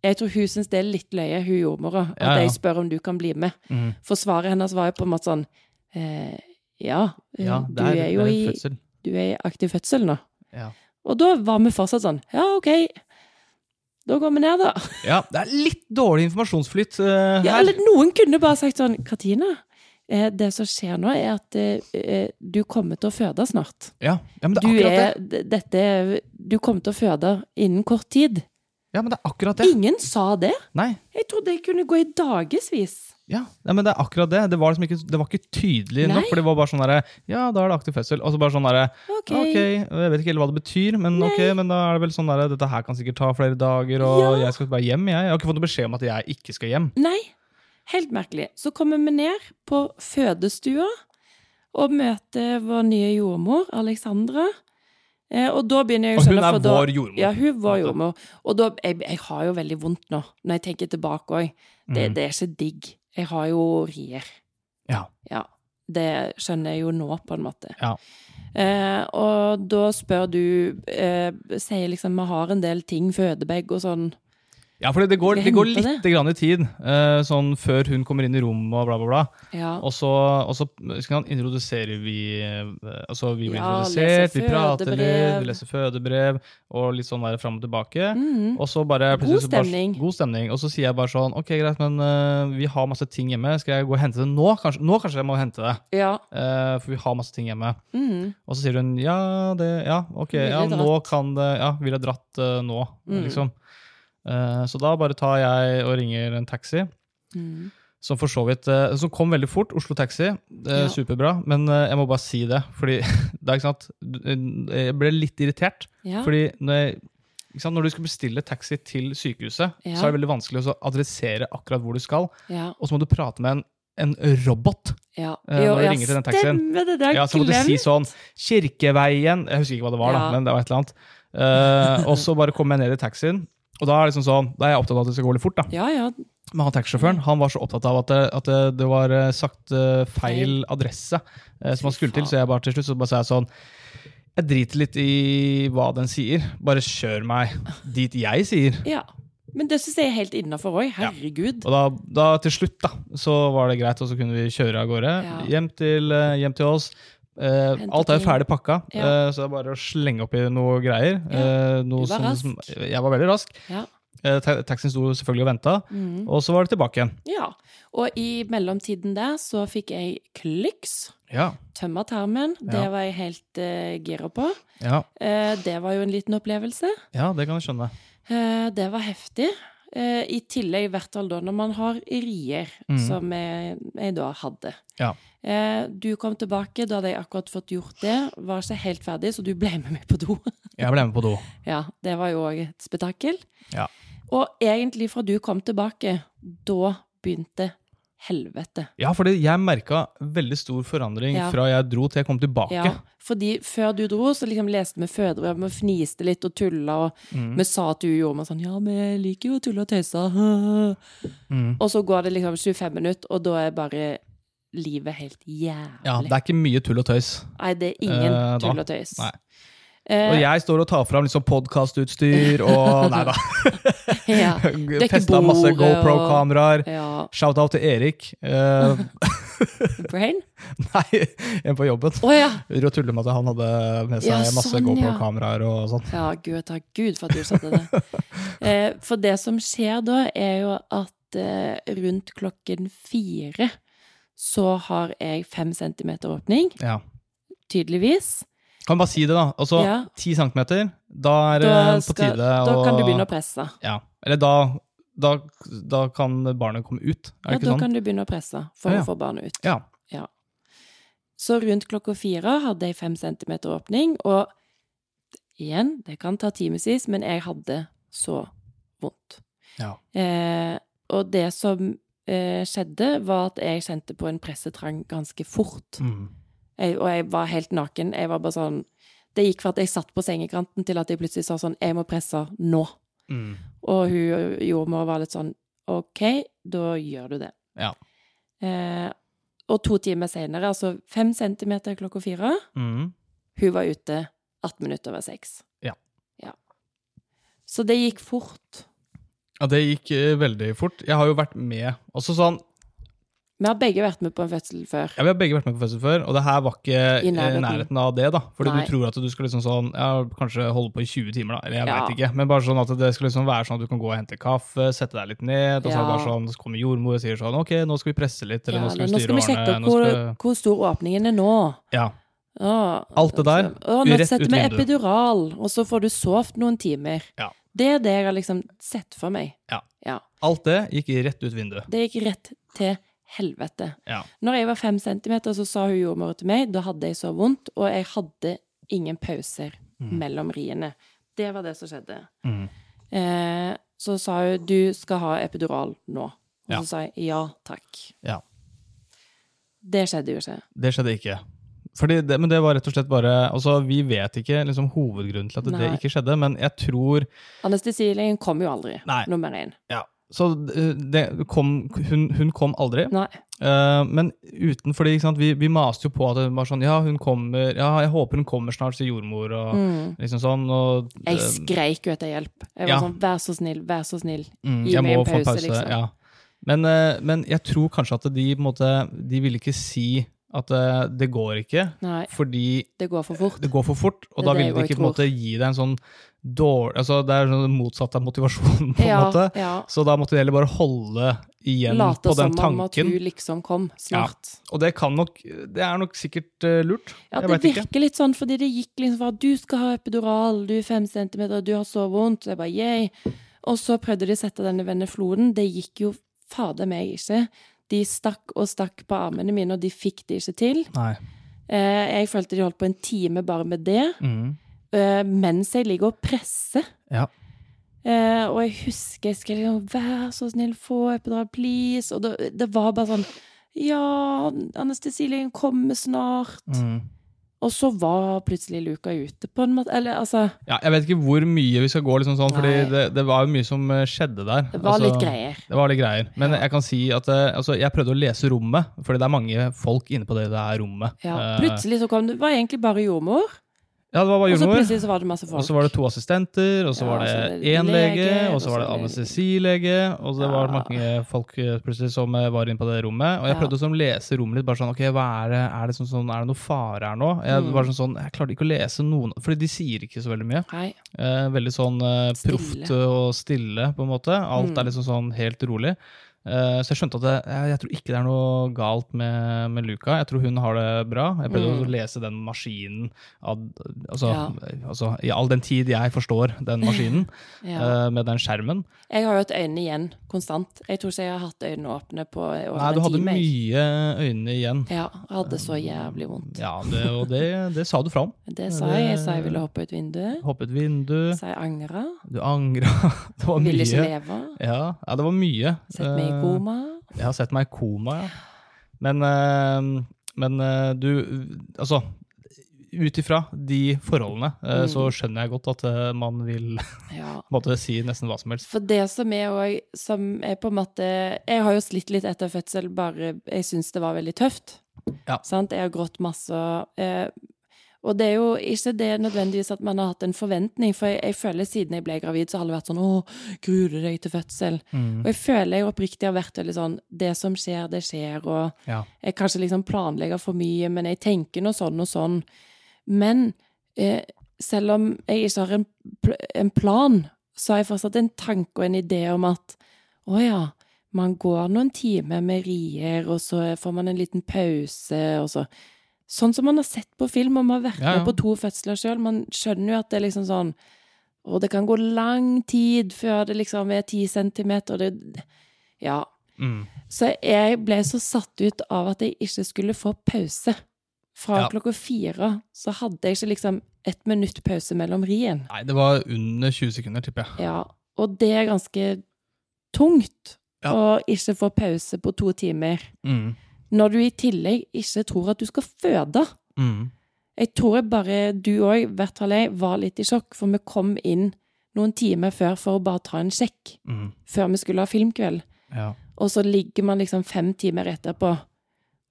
Speaker 2: Jeg tror hun syns det er litt løye, hun jordmora, at
Speaker 1: Ja, ja.
Speaker 2: jeg spør om du kan bli med.
Speaker 1: Mm.
Speaker 2: For svaret hennes var jo på en måte sånn eh, Ja, eh,
Speaker 1: ja, det
Speaker 2: du er,
Speaker 1: er,
Speaker 2: jo
Speaker 1: det er
Speaker 2: i,
Speaker 1: fødsel.
Speaker 2: du er i aktiv fødsel nå.
Speaker 1: Ja.
Speaker 2: Og da var vi fortsatt sånn Ja, OK. Da går vi ned, da.
Speaker 1: ja, det er litt dårlig informasjonsflyt eh,
Speaker 2: Ja,
Speaker 1: her.
Speaker 2: eller noen kunne bare sagt sånn Katina, eh, det som skjer nå, er at eh, eh, du kommer til å føde snart.
Speaker 1: Ja. ja, men det
Speaker 2: Du
Speaker 1: er akkurat det.
Speaker 2: er d- dette er- Du kommer til å føde innen kort tid.
Speaker 1: Ja, men det er akkurat det.
Speaker 2: Ingen sa det!
Speaker 1: Nei.
Speaker 2: Jeg trodde jeg kunne gå i dagevis.
Speaker 1: Ja, nei, men det er akkurat det. Det var liksom ikke, det var ikke tydelig
Speaker 2: Nei.
Speaker 1: nok. For det var bare sånn derre Ja, da er det aktiv fødsel. Og så bare sånn derre
Speaker 2: Ok.
Speaker 1: Ok, jeg vet ikke helt hva det betyr, men ok, men da er det vel sånn der, dette her kan sikkert ta flere dager, og
Speaker 2: Ja.
Speaker 1: jeg skal bare hjem, jeg. Jeg har ikke fått noen beskjed om at jeg ikke skal hjem.
Speaker 2: Nei, helt merkelig. Så kommer vi ned på fødestua og møter vår nye jordmor, Alexandra. Eh, og da begynner jeg å
Speaker 1: Og hun
Speaker 2: skjønne,
Speaker 1: er
Speaker 2: for da-
Speaker 1: vår jordmor.
Speaker 2: Ja, hun var jordmor. Og da, jeg, jeg har jo veldig vondt nå, når jeg tenker tilbake òg. Det, det er ikke digg. Jeg har jo rier.
Speaker 1: Mm. Ja.
Speaker 2: Ja. Det skjønner jeg jo nå, på en måte.
Speaker 1: Ja.
Speaker 2: Eh, og da spør du eh, Sier liksom vi har en del ting, fødebag og sånn.
Speaker 1: Ja, for det går,
Speaker 2: Vi
Speaker 1: det går litt
Speaker 2: henter
Speaker 1: grann i tid, eh, sånn før hun kommer inn i rommet og bla, bla, bla.
Speaker 2: Ja.
Speaker 1: Og så, og så skal han introdusere vi eh, Altså, vi blir
Speaker 2: Ja,
Speaker 1: introdusert,
Speaker 2: leser
Speaker 1: vi prater litt,
Speaker 2: fødebrev.
Speaker 1: vi leser fødebrev, og litt sånn der fram og tilbake.
Speaker 2: Mhm.
Speaker 1: Og så bare
Speaker 2: God
Speaker 1: plutselig så bare-
Speaker 2: stemning.
Speaker 1: God stemning. Og så sier jeg bare sånn Ok, greit, men eh, vi har masse ting hjemme. Skal jeg gå og hente det nå? Kanskje, nå kanskje jeg må hente det.
Speaker 2: ja.
Speaker 1: eh, for vi har masse ting hjemme.
Speaker 2: Mhm.
Speaker 1: Og så sier hun ja, det, ja ok,
Speaker 2: Ville
Speaker 1: ja, nå
Speaker 2: dratt.
Speaker 1: kan det Ja, ville dratt eh, nå,
Speaker 2: Mm.
Speaker 1: liksom. Eh, så da bare tar jeg og ringer en taxi.
Speaker 2: Mhm.
Speaker 1: Som for så vidt, eh, som kom veldig fort. Oslo Taxi, eh,
Speaker 2: Ja.
Speaker 1: superbra. Men eh, jeg må bare si det, fordi det er ikke sant du- eh, Jeg ble litt irritert.
Speaker 2: ja.
Speaker 1: fordi når, jeg, ikke sant, når du skal bestille taxi til sykehuset,
Speaker 2: Ja.
Speaker 1: så er det veldig vanskelig å så adressere akkurat hvor du skal.
Speaker 2: Ja.
Speaker 1: Og så må du prate med en, en robot.
Speaker 2: Ja.
Speaker 1: Eh, når
Speaker 2: Jo,
Speaker 1: du
Speaker 2: ja,
Speaker 1: ringer til den taxien.
Speaker 2: Stemmer det, det har
Speaker 1: Ja,
Speaker 2: jeg
Speaker 1: så må du si
Speaker 2: glemt.
Speaker 1: sånn Kirkeveien Jeg husker ikke hva det var, da,
Speaker 2: Ja.
Speaker 1: men det var et eller annet. Eh, og så bare kom jeg ned i taxien, og da er, det liksom sånn, da er jeg opptatt av at det skal gå litt fort. da.
Speaker 2: Ja, ja.
Speaker 1: Men han taxisjåføren han var så opptatt av at det, at det, det var eh, sagt eh, feil adresse eh, som han skulle til, så jeg bare til slutt så bare sa jeg sånn Jeg driter litt i hva den sier, bare kjør meg dit jeg sier.
Speaker 2: ja. Men det syns jeg er helt innafor òg. Herregud.
Speaker 1: Og da, da til slutt, da, så var det greit, og så kunne vi kjøre av gårde.
Speaker 2: Ja.
Speaker 1: Hjem, til, eh, hjem til oss. Eh,
Speaker 2: Hente
Speaker 1: alt er jo
Speaker 2: ting.
Speaker 1: ferdig pakka,
Speaker 2: Ja.
Speaker 1: eh, så det er bare å slenge oppi noe greier. Eh, noe
Speaker 2: Du var
Speaker 1: som-
Speaker 2: rask.
Speaker 1: som, jeg var veldig rask.
Speaker 2: Ja.
Speaker 1: Eh, ta- Taxien sto selvfølgelig og venta,
Speaker 2: Mhm.
Speaker 1: og så var det tilbake igjen.
Speaker 2: ja. Og i mellomtiden der så fikk jeg klyks.
Speaker 1: Ja,
Speaker 2: Tømme tarmen. Det
Speaker 1: Ja.
Speaker 2: var jeg helt uh, gira på.
Speaker 1: ja,
Speaker 2: Eh, det var jo en liten opplevelse.
Speaker 1: ja, det kan jeg skjønne.
Speaker 2: Eh, det var heftig. Eh, I tillegg, i hvert fall da, når man har rier,
Speaker 1: Mhm.
Speaker 2: som jeg, jeg da hadde.
Speaker 1: Ja.
Speaker 2: Eh, du kom tilbake, da hadde jeg akkurat fått gjort det. Var ikke helt ferdig, så du ble med meg på do.
Speaker 1: Jeg ble med på do.
Speaker 2: Ja, det var jo òg et spetakkel.
Speaker 1: Ja.
Speaker 2: Og egentlig fra du kom tilbake, da begynte helvete.
Speaker 1: Ja, fordi jeg merka veldig stor forandring
Speaker 2: Ja.
Speaker 1: fra jeg dro til jeg kom tilbake.
Speaker 2: Ja, fordi før du dro, så liksom leste vi fødebrev, vi fniste litt og tulla, og
Speaker 1: Mm.
Speaker 2: vi sa til jordmor sånn Ja, vi liker jo å tulle og tøyse.
Speaker 1: Mm.
Speaker 2: Og så går det liksom 25 minutter, og da er bare livet helt jævlig.
Speaker 1: Ja, det er ikke mye tull og tøys.
Speaker 2: Nei, det er ingen
Speaker 1: Eh, da.
Speaker 2: tull og tøys.
Speaker 1: Nei.
Speaker 2: Eh,
Speaker 1: Og jeg står og tar fram liksom podkastutstyr og Nei da.
Speaker 2: ja, Dekker
Speaker 1: Festa masse
Speaker 2: bordet eh, og-
Speaker 1: GoPro-kameraer.
Speaker 2: ja,
Speaker 1: Shout-out til Erik. Eh,
Speaker 2: brain?
Speaker 1: nei, en på jobben.
Speaker 2: Å ja!
Speaker 1: Rå tuller med at han hadde med seg
Speaker 2: Ja,
Speaker 1: masse
Speaker 2: sånn, ja.
Speaker 1: GoPro-kameraer og sånn.
Speaker 2: Ja, gud, takk Gud for at du satte det. Eh, for det som skjer da, er jo at eh, rundt klokken fire så har jeg fem centimeter åpning,
Speaker 1: Ja.
Speaker 2: tydeligvis.
Speaker 1: Kan bare si det, da. Altså
Speaker 2: Ja.
Speaker 1: ti centimeter, da er det
Speaker 2: Da,
Speaker 1: på
Speaker 2: skal,
Speaker 1: tide
Speaker 2: da kan du
Speaker 1: å
Speaker 2: begynne å presse.
Speaker 1: ja. Eller da, da, da kan barnet komme ut, er
Speaker 2: Ja,
Speaker 1: det ikke
Speaker 2: da
Speaker 1: sånn?
Speaker 2: kan du begynne å presse for
Speaker 1: Ja, ja.
Speaker 2: å få barnet ut.
Speaker 1: Ja.
Speaker 2: Så rundt klokka fire hadde jeg fem centimeter åpning, og igjen, det kan ta timevis, men jeg hadde så vondt.
Speaker 1: Ja.
Speaker 2: Eh, og det som eh, skjedde, var at jeg kjente på en pressetrang ganske fort.
Speaker 1: Mm.
Speaker 2: Jeg, og jeg var helt naken. Jeg var bare sånn Det gikk fra at jeg satt på sengekanten, til at jeg plutselig sa sånn Jeg må presse nå.
Speaker 1: Mm.
Speaker 2: Og hun jordmor var litt sånn OK, da gjør du det.
Speaker 1: Ja.
Speaker 2: Eh, og to timer senere, altså fem centimeter klokka fire,
Speaker 1: Mm.
Speaker 2: hun var ute 18 minutter over seks.
Speaker 1: Ja.
Speaker 2: ja. Så det gikk fort.
Speaker 1: Ja, det gikk eh, veldig fort. Jeg har jo vært med også sånn,
Speaker 2: Vi har begge vært med på en fødsel før.
Speaker 1: ja, Vi har begge vært med på fødsel før, og det her var ikke
Speaker 2: I
Speaker 1: i
Speaker 2: nærheten.
Speaker 1: nærheten, av det. da. Fordi
Speaker 2: Nei.
Speaker 1: du tror at du skal liksom sånn, ja, kanskje holde på i 20 timer, da. Eller jeg
Speaker 2: Ja.
Speaker 1: vet ikke. Men bare sånn at det skal liksom være sånn at du kan gå og hente kaffe, sette deg litt ned, og så, er det
Speaker 2: Ja.
Speaker 1: bare sånn, så kommer jordmor og sier sånn Ok, nå skal vi presse litt, eller
Speaker 2: Ja,
Speaker 1: nå skal
Speaker 2: nå
Speaker 1: vi
Speaker 2: skal
Speaker 1: styre
Speaker 2: vi sjekke
Speaker 1: årene. nå
Speaker 2: hvor,
Speaker 1: skal-
Speaker 2: hvor stor åpningen er nå.
Speaker 1: Ja.
Speaker 2: Å,
Speaker 1: Alt det der,
Speaker 2: Å, nå
Speaker 1: rett
Speaker 2: setter
Speaker 1: ut
Speaker 2: vi
Speaker 1: vinduet.
Speaker 2: epidural, og så får du sovet noen timer.
Speaker 1: Ja.
Speaker 2: Det er det jeg har liksom sett for meg.
Speaker 1: Ja. Alt det gikk rett ut vinduet.
Speaker 2: Det gikk rett til helvete.
Speaker 1: Ja.
Speaker 2: Når jeg var fem centimeter, så sa hun jordmor til meg, da hadde jeg så vondt, og jeg hadde ingen pauser mellom riene. Det var det som skjedde.
Speaker 1: Mm.
Speaker 2: Eh, så sa hun, du skal ha epidural nå. Og
Speaker 1: Ja.
Speaker 2: så sa jeg, ja takk.
Speaker 1: ja.
Speaker 2: Det skjedde jo ikke.
Speaker 1: Det skjedde ikke. Fordi det, men det var rett og slett bare altså Vi vet ikke liksom, hovedgrunnen til at det
Speaker 2: Nei.
Speaker 1: ikke skjedde, men jeg tror
Speaker 2: Anestesilegen kom jo aldri,
Speaker 1: Nei.
Speaker 2: nummer én.
Speaker 1: Så eh, det kom, hun, hun kom aldri.
Speaker 2: Nei.
Speaker 1: Eh, men uten, fordi ikke sant, vi, vi maste jo på at det var sånn Ja, hun kommer, ja, jeg håper hun kommer snart, sier jordmor. og
Speaker 2: Mm.
Speaker 1: liksom sånn. Og,
Speaker 2: Jeg
Speaker 1: eh,
Speaker 2: skreik jo etter hjelp. Jeg var
Speaker 1: ja.
Speaker 2: sånn, vær så snill, vær så snill.
Speaker 1: Mm,
Speaker 2: Gi
Speaker 1: jeg
Speaker 2: meg
Speaker 1: må
Speaker 2: en
Speaker 1: få en
Speaker 2: pause,
Speaker 1: pause.
Speaker 2: liksom.
Speaker 1: Ja. Men, eh, men jeg tror kanskje at de på en måte, de ville ikke si at eh, det går ikke,
Speaker 2: Nei,
Speaker 1: fordi
Speaker 2: det går for fort.
Speaker 1: det går for fort, og
Speaker 2: Det er
Speaker 1: da
Speaker 2: det
Speaker 1: ville de
Speaker 2: jeg
Speaker 1: ikke på en
Speaker 2: tror.
Speaker 1: måte gi deg en sånn dårlig altså Det er sånn motsatt av motivasjon, på en
Speaker 2: ja,
Speaker 1: måte.
Speaker 2: ja.
Speaker 1: Så da måtte de heller bare holde igjen
Speaker 2: Late
Speaker 1: på den
Speaker 2: som om at
Speaker 1: tanken.
Speaker 2: hun liksom kom snart.
Speaker 1: Og det kan nok Det er nok sikkert eh, lurt. jeg
Speaker 2: Ja, det
Speaker 1: veit ikke.
Speaker 2: virker litt sånn, fordi det gikk liksom fra du skal ha epidural, du er fem centimeter, du har så vondt. Jeg bare yay. Og så prøvde de å sette denne venefloden. Det gikk jo fader meg ikke. De stakk og stakk på armene mine, og de fikk det ikke til.
Speaker 1: Nei.
Speaker 2: Eh, jeg følte de holdt på en time bare med det,
Speaker 1: Mm.
Speaker 2: eh, mens jeg ligger og presser.
Speaker 1: Ja.
Speaker 2: Eh, og jeg husker jeg skrev liksom 'vær så snill, få epidural, please', og det, det var bare sånn ja, anestesilegen kommer snart.
Speaker 1: Mm.
Speaker 2: Og så var plutselig Luka ute på en måte. Eller altså,
Speaker 1: ja. Jeg vet ikke hvor mye vi skal gå, liksom sånn, fordi
Speaker 2: Nei.
Speaker 1: det, det var jo mye som eh, skjedde der.
Speaker 2: det var
Speaker 1: Altså-
Speaker 2: litt greier.
Speaker 1: Det var litt greier. Men jeg kan si at eh, altså, jeg prøvde å lese rommet, fordi det er mange folk inne på det der rommet.
Speaker 2: Ja.
Speaker 1: Eh,
Speaker 2: Plutselig så kom det var egentlig bare jordmor,
Speaker 1: ja, det var bare
Speaker 2: og så
Speaker 1: jordmor.
Speaker 2: plutselig så var det masse folk.
Speaker 1: Og så var det to assistenter, og så
Speaker 2: Ja,
Speaker 1: var
Speaker 2: så er
Speaker 1: det
Speaker 2: det
Speaker 1: én lege,
Speaker 2: lege,
Speaker 1: og så var det
Speaker 2: og så er det-
Speaker 1: anestesilege, og det var
Speaker 2: Ja.
Speaker 1: mange folk eh, plutselig som eh, var inne på det rommet. Og jeg
Speaker 2: Ja.
Speaker 1: prøvde å sånn lese rommet litt, bare sånn ok, hva er det, er det, sånn, sånn, er det noe fare her nå? Jeg,
Speaker 2: Mm.
Speaker 1: var sånn, sånn, jeg klarte ikke å lese noen, fordi de sier ikke så veldig mye.
Speaker 2: Nei.
Speaker 1: Eh, veldig sånn eh,
Speaker 2: Stille.
Speaker 1: proft og stille, på en måte. Alt
Speaker 2: Mm.
Speaker 1: er liksom sånn helt rolig. Eh, så jeg skjønte at det, jeg, jeg tror ikke det er noe galt med, med Luca. Jeg tror hun har det bra. Jeg prøvde
Speaker 2: Mm.
Speaker 1: å lese den maskinen ad, altså,
Speaker 2: Ja.
Speaker 1: altså, I all den tid jeg forstår den maskinen,
Speaker 2: Ja.
Speaker 1: eh, med den skjermen.
Speaker 2: Jeg har jo hatt øynene igjen konstant. Jeg tror ikke jeg har hatt øynene åpne på over
Speaker 1: Nei, du
Speaker 2: en
Speaker 1: hadde
Speaker 2: time. jeg.
Speaker 1: mye øyne igjen.
Speaker 2: Ja, jeg hadde så jævlig vondt.
Speaker 1: Ja, det, og det, det sa du fra om.
Speaker 2: Men Det sa jeg. Jeg sa jeg ville hoppe ut vinduet.
Speaker 1: Hoppet vindu,
Speaker 2: Sa jeg angra.
Speaker 1: du angra. Det var
Speaker 2: Ville ikke
Speaker 1: mye.
Speaker 2: leve.
Speaker 1: Ja, ja, det var mye.
Speaker 2: Sett meg i
Speaker 1: Eh,
Speaker 2: koma.
Speaker 1: Jeg har sett meg i koma, ja. Men, eh, men eh, du Altså, ut ifra de forholdene, eh,
Speaker 2: Mm.
Speaker 1: så skjønner jeg godt at eh, man vil på
Speaker 2: Ja.
Speaker 1: en måte si nesten hva som helst.
Speaker 2: For det som er òg Som er på en måte Jeg har jo slitt litt etter fødsel, bare jeg syns det var veldig tøft.
Speaker 1: Ja.
Speaker 2: Sant? Jeg har grått masse. og, Eh, og det er jo ikke det nødvendigvis at man har hatt en forventning, for jeg, jeg føler siden jeg ble gravid, så har det vært sånn Å, gruer du deg til fødsel? Og jeg føler jeg oppriktig har vært veldig sånn Det som skjer, det skjer, og
Speaker 1: Ja.
Speaker 2: jeg kanskje liksom planlegger for mye, men jeg tenker noe sånn og sånn. Men eh, selv om jeg ikke har en, pl en plan, så har jeg fortsatt en tanke og en idé om at å ja, man går noen timer med rier, og så får man en liten pause, og så Sånn som man har sett på film, og man har vært
Speaker 1: Ja, ja.
Speaker 2: med på to fødsler sjøl. Man skjønner jo at det er liksom sånn Å, det kan gå lang tid før det liksom er ti centimeter, og det Ja.
Speaker 1: Mm.
Speaker 2: Så jeg ble så satt ut av at jeg ikke skulle få pause. Fra
Speaker 1: Ja.
Speaker 2: klokka fire så hadde jeg ikke liksom ett minutt pause mellom rien.
Speaker 1: Nei, det var under 20 sekunder, tipper jeg.
Speaker 2: Ja, og det er ganske tungt
Speaker 1: Ja.
Speaker 2: å ikke få pause på to timer.
Speaker 1: Mm.
Speaker 2: Når du i tillegg ikke tror at du skal føde.
Speaker 1: Mm.
Speaker 2: Jeg tror jeg bare du òg, i hvert fall jeg, var litt i sjokk, for vi kom inn noen timer før for å bare ta en sjekk.
Speaker 1: Mm.
Speaker 2: Før vi skulle ha filmkveld.
Speaker 1: Ja.
Speaker 2: Og så ligger man liksom fem timer etterpå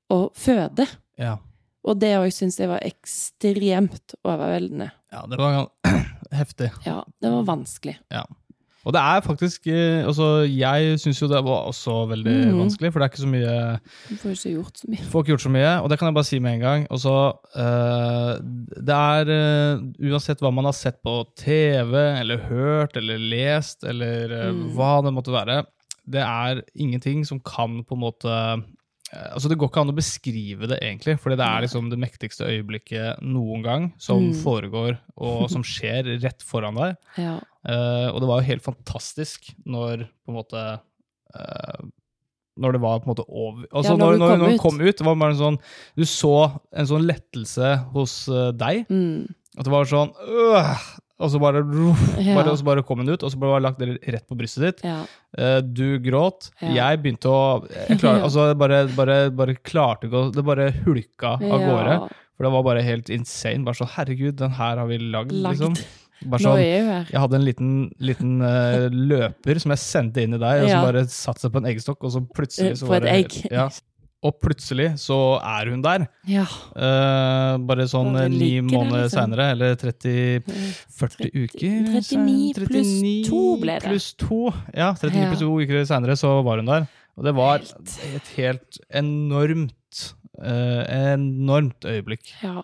Speaker 2: og føder.
Speaker 1: ja.
Speaker 2: Og det òg syns jeg var ekstremt overveldende.
Speaker 1: Ja, det var heftig.
Speaker 2: Ja, det var vanskelig.
Speaker 1: Og det er faktisk eh, Altså, jeg syns jo det var også veldig
Speaker 2: Mm.
Speaker 1: vanskelig, for det er ikke så mye
Speaker 2: Du får jo ikke gjort så mye.
Speaker 1: Får ikke gjort så mye, og det kan jeg bare si med en gang. Og så, eh, det er eh, Uansett hva man har sett på TV, eller hørt, eller lest, eller eh,
Speaker 2: Mm.
Speaker 1: hva det måtte være, det er ingenting som kan på en måte eh, Altså Det går ikke an å beskrive det, egentlig, fordi det er liksom det mektigste øyeblikket noen gang som
Speaker 2: Mm.
Speaker 1: foregår, og som skjer rett foran deg.
Speaker 2: Ja.
Speaker 1: Eh, og det var jo helt fantastisk når på en måte eh, Når det var på en måte over altså,
Speaker 2: Ja,
Speaker 1: Når,
Speaker 2: når hun
Speaker 1: når,
Speaker 2: kom
Speaker 1: når hun
Speaker 2: ut.
Speaker 1: kom ut, var det bare en sånn Du så en sånn lettelse hos eh, deg.
Speaker 2: Mm.
Speaker 1: At det var sånn øh, Og så bare, ruff,
Speaker 2: Ja.
Speaker 1: bare, og så bare kom hun ut, og så ble det lagt rett på brystet ditt.
Speaker 2: ja.
Speaker 1: Eh, du gråt.
Speaker 2: Ja.
Speaker 1: Jeg begynte å jeg klar,
Speaker 2: Ja.
Speaker 1: altså, jeg bare, bare, bare klarte ikke å Det bare hulka av gårde.
Speaker 2: Ja.
Speaker 1: For det var bare helt insane. Bare sånn herregud, den her har vi lagd,
Speaker 2: Lagd.
Speaker 1: liksom. Bare
Speaker 2: Nå
Speaker 1: sånn,
Speaker 2: er jeg jo her.
Speaker 1: jeg hadde en liten, liten eh, løper som jeg sendte inn i deg, og som
Speaker 2: Ja. Eh,
Speaker 1: bare satte seg på en eggstokk, og så plutselig så
Speaker 2: På
Speaker 1: var
Speaker 2: et
Speaker 1: det helt-
Speaker 2: egg.
Speaker 1: Ja. Og plutselig så er hun der.
Speaker 2: Ja.
Speaker 1: Eh, bare sånn
Speaker 2: Bare
Speaker 1: eh, ni
Speaker 2: ligger der,
Speaker 1: måneder
Speaker 2: liksom.
Speaker 1: seinere, eller 30 40 uker
Speaker 2: 39
Speaker 1: sen-
Speaker 2: pluss to ble det.
Speaker 1: Pluss to, ja, 39
Speaker 2: Ja.
Speaker 1: pluss to uker senere så var hun der. Og det var
Speaker 2: Helt.
Speaker 1: et helt enormt eh, enormt øyeblikk.
Speaker 2: ja.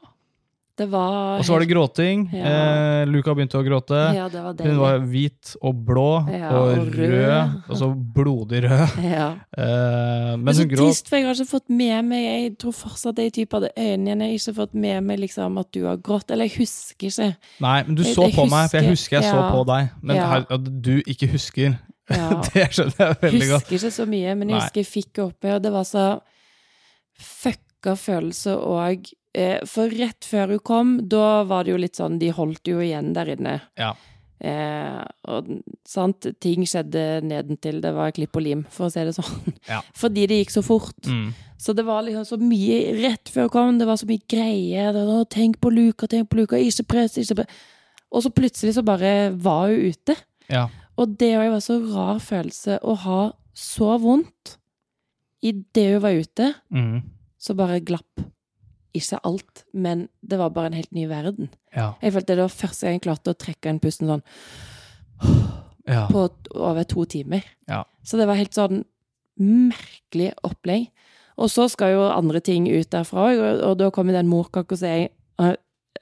Speaker 2: Det var
Speaker 1: Og så var det gråting.
Speaker 2: Ja.
Speaker 1: Eh, Luca begynte å gråte.
Speaker 2: Ja, det var
Speaker 1: Hun
Speaker 2: deilig.
Speaker 1: var hvit og blå
Speaker 2: Ja,
Speaker 1: og,
Speaker 2: og
Speaker 1: rød,
Speaker 2: rød.
Speaker 1: og så blodig rød.
Speaker 2: Ja.
Speaker 1: Eh,
Speaker 2: Men
Speaker 1: men
Speaker 2: så
Speaker 1: hun gråt.
Speaker 2: trist, for jeg har ikke fått med meg Jeg tror fortsatt jeg typ hadde øynene Jeg har ikke fått med meg liksom at du har grått. Eller jeg husker ikke.
Speaker 1: Nei, men du
Speaker 2: Jeg-
Speaker 1: så
Speaker 2: jeg
Speaker 1: på meg, for jeg
Speaker 2: husker-
Speaker 1: husker jeg så
Speaker 2: ja.
Speaker 1: på deg. Men
Speaker 2: Ja.
Speaker 1: her, at du ikke husker,
Speaker 2: Ja.
Speaker 1: det skjønner jeg veldig godt.
Speaker 2: husker ikke så mye, men jeg
Speaker 1: Nei.
Speaker 2: husker jeg fikk det opp meg, og det var så fucka følelse og eh, For rett før hun kom, da var det jo litt sånn De holdt jo igjen der inne.
Speaker 1: Ja.
Speaker 2: Eh, og sant, ting skjedde nedentil. Det var klipp og lim, for å si det sånn.
Speaker 1: Ja.
Speaker 2: Fordi det gikk så fort.
Speaker 1: Mm.
Speaker 2: Så det var liksom så mye rett før jeg kom, det var så mye greier. Det var, «Å, tenk på Luka, tenk på Luka, ikke press, ikke press. Og så plutselig så bare var hun ute.
Speaker 1: Ja.
Speaker 2: Og det òg var så rar følelse å ha så vondt. Idet hun var ute,
Speaker 1: Mm.
Speaker 2: så bare glapp ikke alt, men det var bare en helt ny verden.
Speaker 1: ja.
Speaker 2: Jeg følte det var første gang jeg klarte å trekke inn pusten sånn
Speaker 1: Ja.
Speaker 2: på t- over to timer.
Speaker 1: Ja.
Speaker 2: Så det var helt sånn merkelig opplegg. Og så skal jo andre ting ut derfra òg, og, og da kom jo den morkaka som jeg eh,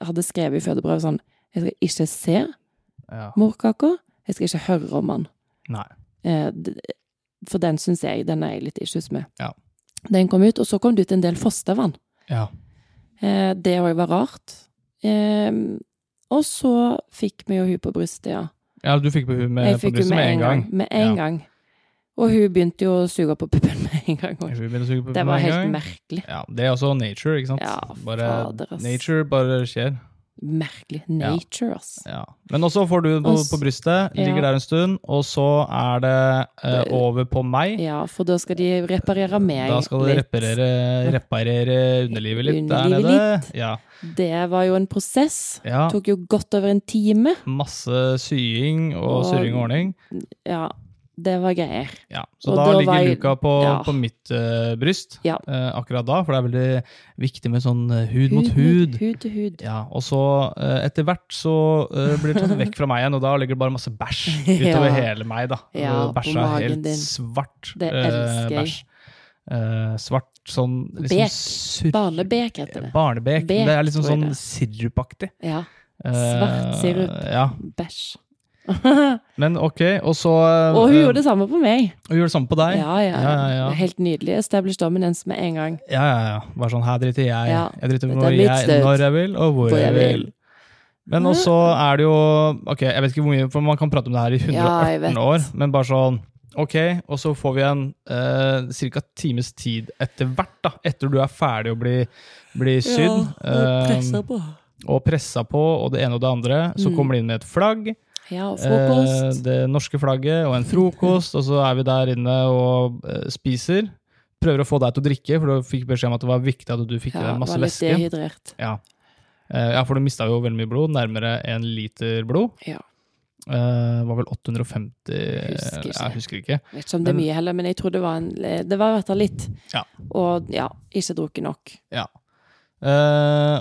Speaker 2: hadde skrevet i fødebrevet sånn Jeg skal ikke se
Speaker 1: ja.
Speaker 2: morkaka, jeg skal ikke høre om han.
Speaker 1: Nei.
Speaker 2: Eh, d- For den syns jeg den er jeg litt issues med.
Speaker 1: Ja.
Speaker 2: Den kom ut, og så kom det ut en del fostervann.
Speaker 1: Ja.
Speaker 2: Eh, Det òg var rart. Eh, Og så fikk vi jo hun på brystet, ja.
Speaker 1: ja, du fikk på hun med,
Speaker 2: Jeg
Speaker 1: Eh, på
Speaker 2: fikk hun
Speaker 1: brystet med en gang.
Speaker 2: Med en
Speaker 1: Ja.
Speaker 2: gang. Og hun begynte jo å suge på puppen med en gang.
Speaker 1: Jeg
Speaker 2: også.
Speaker 1: fikk begynne å suge på
Speaker 2: Det
Speaker 1: med
Speaker 2: var
Speaker 1: en
Speaker 2: helt
Speaker 1: gang.
Speaker 2: merkelig.
Speaker 1: Ja, det er også nature, ikke sant?
Speaker 2: Ja,
Speaker 1: bare,
Speaker 2: fader, ass.
Speaker 1: Nature bare skjer.
Speaker 2: Merkelig. Nature, ass.
Speaker 1: Ja. Men også får du den på,
Speaker 2: Og s-
Speaker 1: på brystet, ligger
Speaker 2: ja.
Speaker 1: der en stund, og så er det eh,
Speaker 2: Det-
Speaker 1: over på meg.
Speaker 2: Ja, for da skal de reparere meg
Speaker 1: Da skal du
Speaker 2: litt.
Speaker 1: reparere, reparere underlivet litt der
Speaker 2: Underlivet
Speaker 1: nede. Ja.
Speaker 2: Det var jo en prosess.
Speaker 1: ja.
Speaker 2: Tok jo godt over en time.
Speaker 1: Masse sying og
Speaker 2: Og-
Speaker 1: surring og ordning.
Speaker 2: Ja, det var greier.
Speaker 1: Ja, så
Speaker 2: Og
Speaker 1: da,
Speaker 2: da
Speaker 1: ligger
Speaker 2: var jeg-
Speaker 1: luka på,
Speaker 2: ja.
Speaker 1: på mitt eh, bryst
Speaker 2: Ja.
Speaker 1: eh, akkurat da, for det er veldig viktig med sånn eh, hud mot hud.
Speaker 2: Hud til hud.
Speaker 1: Ja, og så eh, etter hvert så eh, blir det tatt vekk fra meg igjen, og da ligger det bare masse bæsj
Speaker 2: Ja.
Speaker 1: utover hele meg, da.
Speaker 2: Ja,
Speaker 1: Eh,
Speaker 2: på
Speaker 1: Bæsja
Speaker 2: magen
Speaker 1: helt
Speaker 2: din.
Speaker 1: svart
Speaker 2: Det
Speaker 1: eh,
Speaker 2: elsker jeg.
Speaker 1: bæsj. Eh, svart sånn liksom
Speaker 2: Bek.
Speaker 1: surr-
Speaker 2: Barnebek heter det.
Speaker 1: Barnebek.
Speaker 2: Bek,
Speaker 1: det er liksom
Speaker 2: tror jeg
Speaker 1: sånn
Speaker 2: det er.
Speaker 1: sirupaktig.
Speaker 2: Ja.
Speaker 1: Eh,
Speaker 2: Svart sirup.
Speaker 1: ja,
Speaker 2: Bæsj.
Speaker 1: men ok, og så
Speaker 2: Og hun gjorde det samme på meg.
Speaker 1: og hun gjorde det samme på deg.
Speaker 2: Ja, ja.
Speaker 1: Ja, ja, ja.
Speaker 2: Helt nydelig. Established dominance med en gang.
Speaker 1: Ja, ja, ja. Bare sånn, her driter jeg.
Speaker 2: Ja.
Speaker 1: Jeg driter
Speaker 2: Dette er
Speaker 1: hvor
Speaker 2: mitt
Speaker 1: jeg,
Speaker 2: sted.
Speaker 1: når jeg vil, og hvor, jeg vil. Men
Speaker 2: Mm.
Speaker 1: også er det jo Ok, jeg vet ikke hvor mye, for man kan prate om det her i
Speaker 2: Ja,
Speaker 1: 118
Speaker 2: jeg vet.
Speaker 1: år, men bare sånn Ok, og så får vi en eh, ca. times tid etter hvert, da. Etter du er ferdig å bli, bli sydd. eh,
Speaker 2: på.
Speaker 1: og pressa på, og det ene og det andre. Så
Speaker 2: Mm.
Speaker 1: kommer de inn med et flagg.
Speaker 2: Ja, og
Speaker 1: Eh,
Speaker 2: frokost.
Speaker 1: det norske flagget og en frokost, og så er vi der inne og eh, spiser. Prøver å få deg til å drikke, for du fikk beskjed om at det var viktig at du fikk i
Speaker 2: Ja,
Speaker 1: deg masse
Speaker 2: var litt
Speaker 1: væske.
Speaker 2: dehydrert.
Speaker 1: Ja. Eh, ja, for du mista jo veldig mye blod. Nærmere en liter blod.
Speaker 2: Ja.
Speaker 1: Eh, var vel 850
Speaker 2: Husker ikke.
Speaker 1: Jeg husker ikke.
Speaker 2: Vet ikke om det er
Speaker 1: Men-
Speaker 2: mye heller, men jeg tror det var en eh, Det var i hvert fall litt.
Speaker 1: Ja.
Speaker 2: Og ja, ikke drukket nok.
Speaker 1: Eh,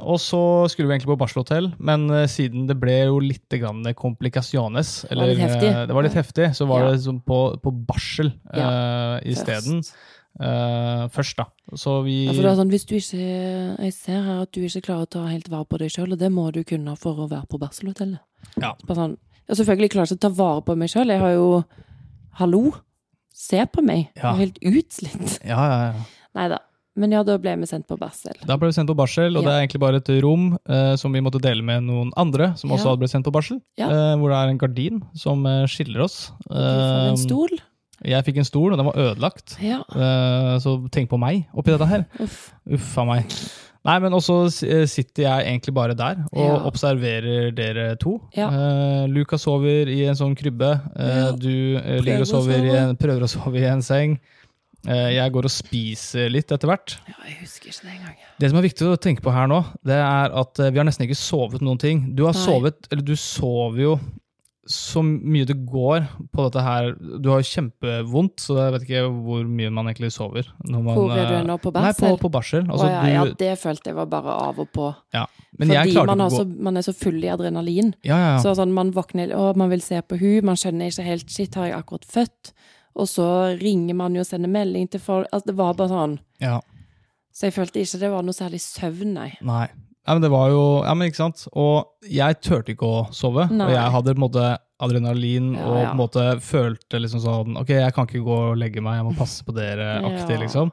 Speaker 1: og så skulle vi egentlig på barselhotell, men eh, siden det ble jo litt grann komplikasjones,
Speaker 2: var
Speaker 1: eller
Speaker 2: litt heftig.
Speaker 1: eh, det var litt heftig, så var
Speaker 2: Ja.
Speaker 1: det som på, på barsel uh, isteden.
Speaker 2: Først.
Speaker 1: Eh, først, da. Så vi
Speaker 2: Ja, for det er sånn, hvis du ikke Jeg ser her at du ikke klarer å ta helt vare på deg sjøl, og det må du kunne for å være på barselhotellet.
Speaker 1: Ja.
Speaker 2: Så Bare sånn, jeg selvfølgelig klarer jeg ikke å ta vare på meg sjøl. Jeg har jo Hallo! Se på meg! Jeg
Speaker 1: Ja.
Speaker 2: er helt utslitt.
Speaker 1: Ja, ja, ja.
Speaker 2: Nei da. Men ja, da ble vi sendt på barsel.
Speaker 1: Da ble vi sendt på barsel, og
Speaker 2: Ja.
Speaker 1: det er egentlig bare et rom eh, som vi måtte dele med noen andre, som også
Speaker 2: Ja.
Speaker 1: hadde blitt sendt på barsel.
Speaker 2: Ja.
Speaker 1: Eh, hvor det er en gardin som eh, skiller oss.
Speaker 2: Du
Speaker 1: Um,
Speaker 2: får en stol.
Speaker 1: Eh, jeg fikk en stol, og den var ødelagt.
Speaker 2: Ja.
Speaker 1: Eh, så tenk på meg oppi dette her.
Speaker 2: Uff.
Speaker 1: Uff a meg. Nei, men også s- eh, sitter jeg egentlig bare der og
Speaker 2: Ja.
Speaker 1: observerer dere to.
Speaker 2: Ja.
Speaker 1: Eh, Luca sover i en sånn krybbe. Eh,
Speaker 2: Ja.
Speaker 1: Du eh, ligger
Speaker 2: Prøver å
Speaker 1: og sover i
Speaker 2: sove.
Speaker 1: en, prøver å sove i en seng. Eh, Jeg går og spiser litt etter hvert.
Speaker 2: Ja, jeg husker ikke det engang.
Speaker 1: Det som er viktig å tenke på her nå, det er at eh, vi har nesten ikke sovet noen ting. Du har
Speaker 2: Nei.
Speaker 1: sovet, eller du sover jo så mye det går på dette her. Du har jo kjempevondt, så jeg vet ikke hvor mye man egentlig sover. Når man,
Speaker 2: Hvor er
Speaker 1: eh,
Speaker 2: du nå, på
Speaker 1: Nei, på,
Speaker 2: barsel?
Speaker 1: på barsel. Altså,
Speaker 2: Å ja, ja,
Speaker 1: du,
Speaker 2: det følte jeg var bare av og på.
Speaker 1: men jeg
Speaker 2: Fordi
Speaker 1: klarte
Speaker 2: man,
Speaker 1: ikke
Speaker 2: har
Speaker 1: å gå
Speaker 2: så, man er så full i adrenalin.
Speaker 1: Ja, ja, ja.
Speaker 2: Så sånn, man våkner, å, man vil se på hun, man skjønner ikke helt Shit, har jeg akkurat født? Og så ringer man jo og sender melding til folk. Altså, det var bare sånn.
Speaker 1: ja.
Speaker 2: Så jeg følte ikke det var noe særlig søvn, nei.
Speaker 1: Nei. Nei, men det var jo Ja, men ikke sant? Og jeg turte ikke å sove.
Speaker 2: Nei.
Speaker 1: Og jeg hadde på en måte adrenalin
Speaker 2: Ja,
Speaker 1: og på
Speaker 2: ja.
Speaker 1: en måte følte liksom sånn Ok, jeg kan ikke gå og legge meg, jeg må passe på dere aktig,
Speaker 2: Ja.
Speaker 1: liksom.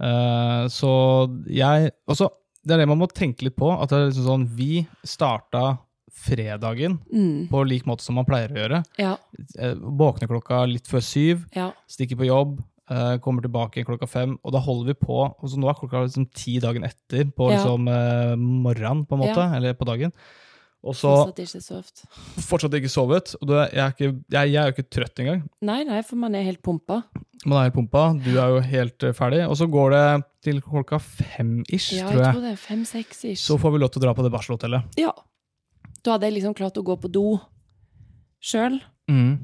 Speaker 1: Eh, så jeg Også, det er det man må tenke litt på. At det er liksom sånn Vi starta fredagen
Speaker 2: Mm,
Speaker 1: på lik måte som man pleier å gjøre.
Speaker 2: ja,
Speaker 1: Eh, Våkner klokka litt før syv,
Speaker 2: ja.
Speaker 1: stikker på jobb. eh, kommer tilbake igjen klokka fem, og da holder vi på. og Så nå er klokka liksom ti dagen etter på
Speaker 2: Ja.
Speaker 1: liksom, eh, morgenen, på en måte, eller på dagen. Og så
Speaker 2: Fortsatt ikke sovt.
Speaker 1: fortsatt ikke sovet. og du er, jeg, er ikke, jeg, jeg er jo ikke trøtt engang.
Speaker 2: Nei, nei, for man er helt pumpa.
Speaker 1: Man er helt pumpa, du er jo helt eh, ferdig. Og så går det til klokka fem-ish,
Speaker 2: Ja,
Speaker 1: tror
Speaker 2: jeg
Speaker 1: jeg.
Speaker 2: tror det er fem-seks ish.
Speaker 1: Så får vi lov til å dra på det barselhotellet.
Speaker 2: Ja. Da hadde jeg liksom klart å gå på do sjøl.
Speaker 1: Mm.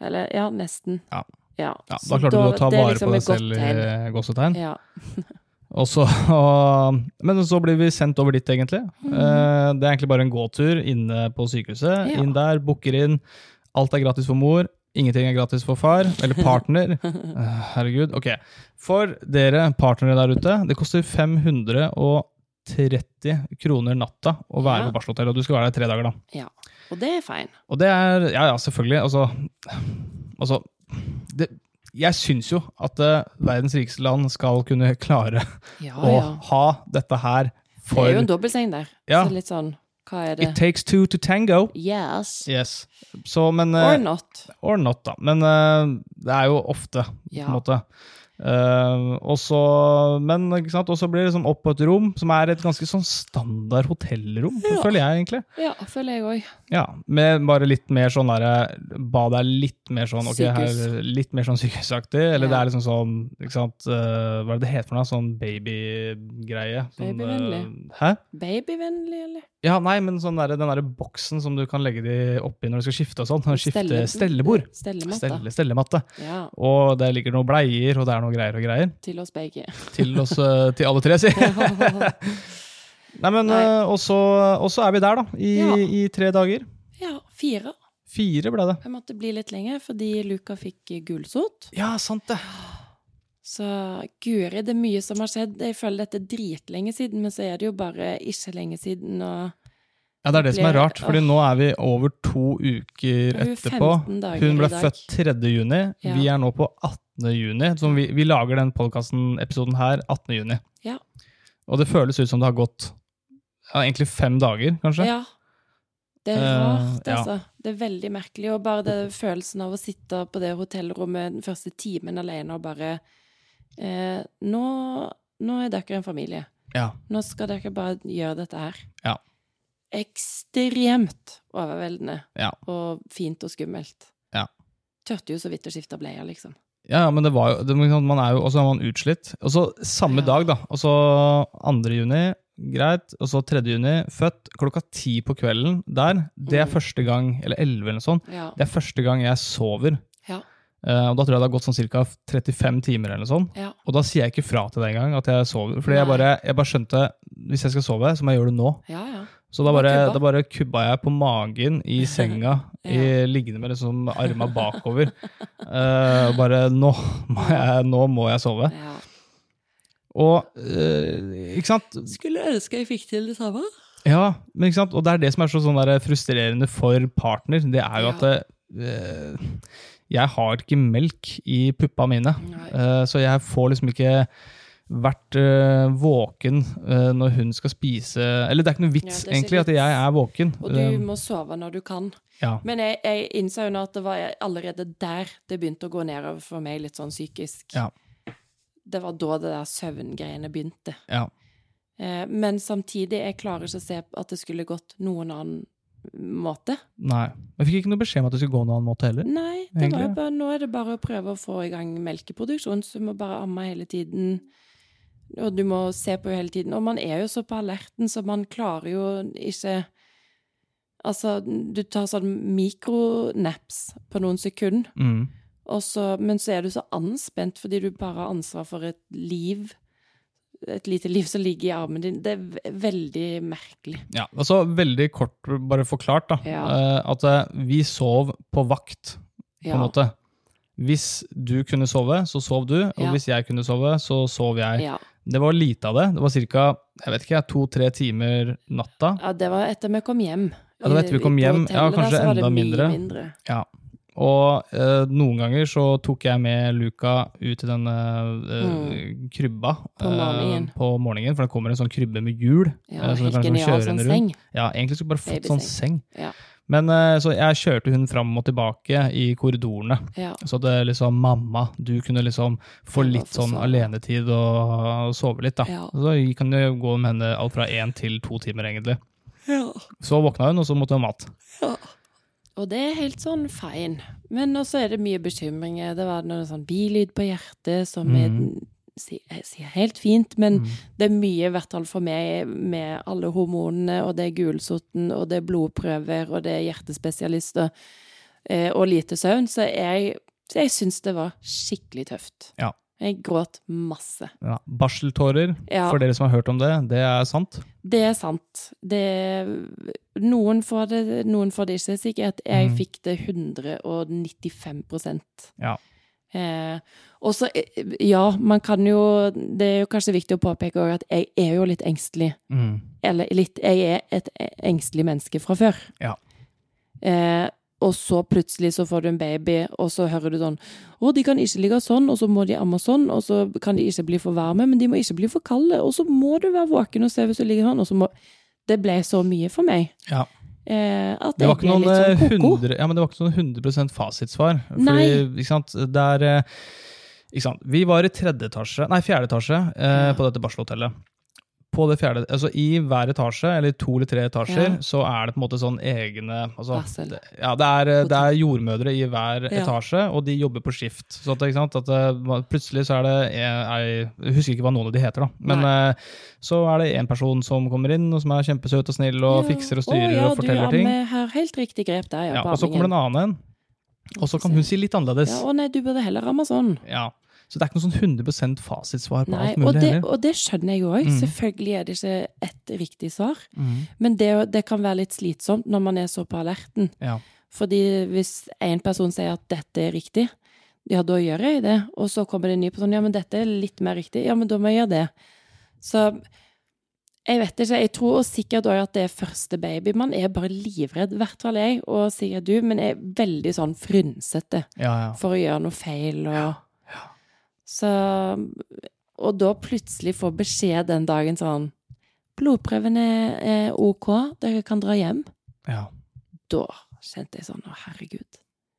Speaker 2: Eller ja, nesten.
Speaker 1: Ja.
Speaker 2: ja.
Speaker 1: Ja,
Speaker 2: Så
Speaker 1: da klarte du å ta
Speaker 2: det er
Speaker 1: vare
Speaker 2: liksom
Speaker 1: på
Speaker 2: et
Speaker 1: deg selv i
Speaker 2: godt tegn.
Speaker 1: eh, gåsetegn.
Speaker 2: Ja.
Speaker 1: Og så, og, men så blir vi sendt over dit, egentlig.
Speaker 2: Mhm.
Speaker 1: Eh, Det er egentlig bare en gåtur inne på sykehuset.
Speaker 2: Ja.
Speaker 1: Inn der, booker inn. Alt er gratis for mor. Ingenting er gratis for far. Eller partner. Eh, Herregud. Ok. For dere partnere der ute, det koster 530 kroner natta å være
Speaker 2: Ja.
Speaker 1: på barselhotell. Og du skal være der i tre dager, da.
Speaker 2: Og det er fine.
Speaker 1: Og det er Ja, ja, selvfølgelig. Altså, altså det, Jeg syns jo at eh, verdens rikeste land skal kunne klare
Speaker 2: Ja,
Speaker 1: å
Speaker 2: ja.
Speaker 1: ha dette her
Speaker 2: Det
Speaker 1: for
Speaker 2: er jo en dobbeltseng der.
Speaker 1: Ja.
Speaker 2: Så litt sånn, hva er det?
Speaker 1: It takes two to tango.
Speaker 2: Yes.
Speaker 1: Yes. Så, men eh,
Speaker 2: Or not.
Speaker 1: Or not, da. Men eh, det er jo ofte, på
Speaker 2: Ja.
Speaker 1: en måte. Eh, og så Men ikke sant? Og så blir det liksom opp på et rom, som er et ganske sånn standard hotellrom,
Speaker 2: Ja.
Speaker 1: føler jeg, egentlig.
Speaker 2: ja, føler jeg òg.
Speaker 1: Ja, med bare litt mer sånn derre Badet er litt mer sånn ok,
Speaker 2: Sykehus.
Speaker 1: her, litt mer sånn sykehusaktig. Eller det
Speaker 2: Ja.
Speaker 1: er liksom sånn ikke sant, eh, Hva er det det heter for noe? Sånn babygreie. Sånn,
Speaker 2: Babyvennlig.
Speaker 1: eh, hæ?
Speaker 2: Babyvennlig, eller?
Speaker 1: Ja, nei, men sånn derre- den derre boksen som du kan legge de oppi når du skal skifte og sånn. sånn Skifte
Speaker 2: Stelle-
Speaker 1: stellebord.
Speaker 2: Stellematta.
Speaker 1: Stelle, stellematte.
Speaker 2: Ja.
Speaker 1: Og det ligger noen bleier, og det er noe greier og greier.
Speaker 2: Til oss begge.
Speaker 1: Til oss, eh, til alle tre, si. Nei, men
Speaker 2: Nei.
Speaker 1: eh, Og så og så er vi der, da. I,
Speaker 2: Ja.
Speaker 1: i tre dager.
Speaker 2: ja, fire.
Speaker 1: Fire ble det.
Speaker 2: Jeg måtte bli litt lenger fordi Luca fikk eh, gulsot.
Speaker 1: Ja, sant det.
Speaker 2: Så guri, det er mye som har skjedd. Jeg føler dette er dritlenge siden, men så er det jo bare ikke lenge siden. Og
Speaker 1: Ja, Det er det som er
Speaker 2: Ble-
Speaker 1: rart, fordi nå er vi over to uker
Speaker 2: Hun er
Speaker 1: etterpå.
Speaker 2: 15 dager
Speaker 1: Hun ble
Speaker 2: i dag.
Speaker 1: født 3. juni.
Speaker 2: Ja.
Speaker 1: Vi er nå på 18. juni. Så vi, vi lager den podcasten episoden her 18. juni.
Speaker 2: Ja.
Speaker 1: Og det føles ut som det har gått ja, egentlig fem dager, kanskje.
Speaker 2: ja. Det er
Speaker 1: Eh,
Speaker 2: rart,
Speaker 1: ja.
Speaker 2: altså. Det er veldig merkelig. Og bare det følelsen av å sitte på det hotellrommet den første timen alene og bare eh, nå, nå er dere en familie.
Speaker 1: Ja.
Speaker 2: Nå skal dere bare gjøre dette her.
Speaker 1: Ja.
Speaker 2: Ekstremt overveldende
Speaker 1: Ja.
Speaker 2: og fint og skummelt.
Speaker 1: Ja.
Speaker 2: Tørte jo så vidt å skifte bleie, liksom.
Speaker 1: Ja, men det var jo, det, man er jo også er man utslitt. Og så samme
Speaker 2: Ja.
Speaker 1: dag, da. Og så 2. juni, greit. Og så 3. juni, født klokka ti på kvelden der. Det er
Speaker 2: Mm.
Speaker 1: første gang, eller 11 eller noe sånt,
Speaker 2: Ja.
Speaker 1: det er første gang jeg sover.
Speaker 2: Ja.
Speaker 1: Eh, og da tror jeg det har gått sånn ca. 35 timer eller noe sånt.
Speaker 2: Ja.
Speaker 1: Og da sier jeg ikke fra til det engang, at jeg sover. Fordi jeg
Speaker 2: Nei.
Speaker 1: bare, jeg bare skjønte hvis jeg skal sove, så må jeg gjøre det nå.
Speaker 2: Ja, ja.
Speaker 1: Så da bare,
Speaker 2: Kubba.
Speaker 1: da bare kubba jeg på magen i senga,
Speaker 2: Ja.
Speaker 1: i, liggende med liksom arma bakover. Eh, bare nå må, jeg, nå må jeg sove.
Speaker 2: ja.
Speaker 1: Og eh, ikke sant?
Speaker 2: Skulle ønske jeg fikk til det samme.
Speaker 1: Ja, men ikke sant? Og det er det som er så sånn der frustrerende for partner. Det er jo
Speaker 2: Ja.
Speaker 1: at eh, jeg har ikke melk i puppa mine.
Speaker 2: Nei.
Speaker 1: Eh, Så jeg får liksom ikke vært eh, våken eh, når hun skal spise Eller det er ikke noe vits,
Speaker 2: Ja, det er ikke
Speaker 1: egentlig, at jeg er våken.
Speaker 2: Og du må sove når du kan.
Speaker 1: Eh, ja.
Speaker 2: Men jeg, jeg innså jo nå at det var allerede der det begynte å gå nedover for meg, litt sånn psykisk.
Speaker 1: Ja.
Speaker 2: Det var da det der søvngreiene begynte.
Speaker 1: Ja.
Speaker 2: Eh, Men samtidig, jeg klarer ikke å se at det skulle gått noen annen måte.
Speaker 1: Nei. Men jeg fikk ikke noe beskjed om at det skulle gå noen annen måte heller.
Speaker 2: Nei, det var jo
Speaker 1: Egentlig.
Speaker 2: bare, nå er det bare å prøve å få i gang melkeproduksjon, så du må bare amme hele tiden. Og du må se på hele tiden. Og man er jo så på alerten, så man klarer jo ikke Altså, du tar sånn mikronaps på noen sekunder,
Speaker 1: Mm.
Speaker 2: og så, men så er du så anspent fordi du bare har ansvar for et liv. Et lite liv som ligger i armen din. Det er ve- veldig merkelig.
Speaker 1: Ja, altså Veldig kort bare forklart, da.
Speaker 2: Ja.
Speaker 1: eh, At eh, vi sov på vakt, på en
Speaker 2: Ja.
Speaker 1: måte. Hvis du kunne sove, så sov du. Og
Speaker 2: Ja.
Speaker 1: hvis jeg kunne sove, så sov jeg.
Speaker 2: ja.
Speaker 1: Det var lite av det. Det var ca. jeg vet ikke, to-tre timer natta.
Speaker 2: Ja, det var etter vi kom hjem.
Speaker 1: Ja, det var etter vi kom
Speaker 2: På
Speaker 1: hjem.
Speaker 2: hotellet
Speaker 1: Ja,
Speaker 2: der
Speaker 1: kanskje
Speaker 2: så var det
Speaker 1: enda
Speaker 2: mye
Speaker 1: mindre. Og eh, noen ganger så tok jeg med Luca ut i denne eh, krybba
Speaker 2: Mm. På
Speaker 1: eh,
Speaker 2: morgenen.
Speaker 1: på morgenen, for det kommer en sånn krybbe med hjul.
Speaker 2: Ja,
Speaker 1: eh, så du
Speaker 2: helt
Speaker 1: kan liksom
Speaker 2: genial
Speaker 1: kjøre
Speaker 2: sånn
Speaker 1: henne rundt.
Speaker 2: seng.
Speaker 1: Ja, egentlig skulle jeg bare fått sånn seng.
Speaker 2: Ja.
Speaker 1: Men eh, så jeg kjørte hun fram og tilbake i korridorene.
Speaker 2: Ja.
Speaker 1: Så det liksom mamma, du kunne liksom få
Speaker 2: Ja,
Speaker 1: litt
Speaker 2: få
Speaker 1: sånn
Speaker 2: sove.
Speaker 1: alenetid og sove litt, da.
Speaker 2: Ja.
Speaker 1: Og Så kan det gå med henne alt fra én til to timer, egentlig.
Speaker 2: Ja.
Speaker 1: Så våkna hun, og så måtte hun ha mat.
Speaker 2: Og det er helt sånn fine. Men også er det mye bekymringer. Det var noe sånn bilyd på hjertet som er
Speaker 1: Mm.
Speaker 2: si- jeg sier helt fint, men det er mye, i hvert fall for meg, med alle hormonene, og det er gulsotten, og det er blodprøver, og det er hjertespesialister, eh, og lite søvn, så jeg, så jeg syns det var skikkelig tøft.
Speaker 1: Ja.
Speaker 2: Jeg gråt masse.
Speaker 1: Ja. Barseltårer,
Speaker 2: Ja.
Speaker 1: for dere som har hørt om det, det er sant.
Speaker 2: Det er sant. Det, noen får det, noen får det ikke. Sikkert jeg
Speaker 1: Mm.
Speaker 2: fikk det 195
Speaker 1: Ja.
Speaker 2: Eh, og så, eh, ja, man kan jo Det er jo kanskje viktig å påpeke også at jeg er jo litt engstelig.
Speaker 1: Mm.
Speaker 2: Eller litt Jeg er et engstelig menneske fra før.
Speaker 1: Ja.
Speaker 2: Eh, og så plutselig så får du en baby, og så hører du sånn Å, de kan ikke ligge sånn, og så må de amme sånn, og så kan de ikke bli for varme, men de må ikke bli for kalde, og så må du være våken og se hvis du ligger sånn, og så må Det ble så mye for meg.
Speaker 1: Ja.
Speaker 2: Eh, at
Speaker 1: Det var ikke
Speaker 2: jeg ble
Speaker 1: noen
Speaker 2: litt sånn
Speaker 1: eh,
Speaker 2: ko-ko.
Speaker 1: 100, ja, men det var ikke sånn 100 fasitsvar. Fordi,
Speaker 2: Nei.
Speaker 1: ikke sant, det er eh, ikke sant, Vi var i tredje etasje, nei, fjerde etasje eh,
Speaker 2: Ja.
Speaker 1: på dette barselhotellet. På det fjerde, altså I hver etasje, eller to eller tre etasjer,
Speaker 2: Ja.
Speaker 1: så er det på en måte sånn egne altså,
Speaker 2: Varsel.
Speaker 1: det, ja, det, er, eh, det er jordmødre i hver
Speaker 2: Ja.
Speaker 1: etasje, og de jobber på skift. Så at, ikke sant, at eh, Plutselig så er det en, ei, Jeg husker ikke hva noen av de heter, da. Men eh, så er det én person som kommer inn, og som er kjempesøt og snill og
Speaker 2: Ja.
Speaker 1: fikser og
Speaker 2: Å,
Speaker 1: styrer
Speaker 2: ja,
Speaker 1: og forteller
Speaker 2: du,
Speaker 1: ting.
Speaker 2: Anne, her, helt riktig grep der, ja.
Speaker 1: Ja,
Speaker 2: på
Speaker 1: og så kommer det
Speaker 2: ammingen.
Speaker 1: en annen en, og så kan hun si litt annerledes.
Speaker 2: Ja, å nei, du burde heller ramme sånn.
Speaker 1: Ja. Så det er ikke noe sånn 100 fasitsvar på
Speaker 2: Nei,
Speaker 1: alt
Speaker 2: og
Speaker 1: mulig
Speaker 2: det,
Speaker 1: heller.
Speaker 2: og det skjønner jeg jo òg.
Speaker 1: Mm.
Speaker 2: Selvfølgelig er det ikke ett riktig svar.
Speaker 1: Mm.
Speaker 2: Men det, det kan være litt slitsomt når man er så på alerten.
Speaker 1: Ja.
Speaker 2: Fordi hvis én person sier at 'dette er riktig', ja, da gjør jeg det. Og så kommer det en ny person 'ja, men dette er litt mer riktig', ja, men da må jeg gjøre det. Så jeg vet ikke. Jeg tror sikkert òg at det er første baby. Man er bare livredd, i hvert fall jeg, og sikkert du, men jeg er veldig sånn frynsete
Speaker 1: Ja, ja.
Speaker 2: for å gjøre noe feil. Og, Så, og da plutselig få beskjed den dagen sånn Blodprøven er, er OK, dere kan dra hjem.
Speaker 1: ja.
Speaker 2: Da kjente jeg sånn Å, herregud.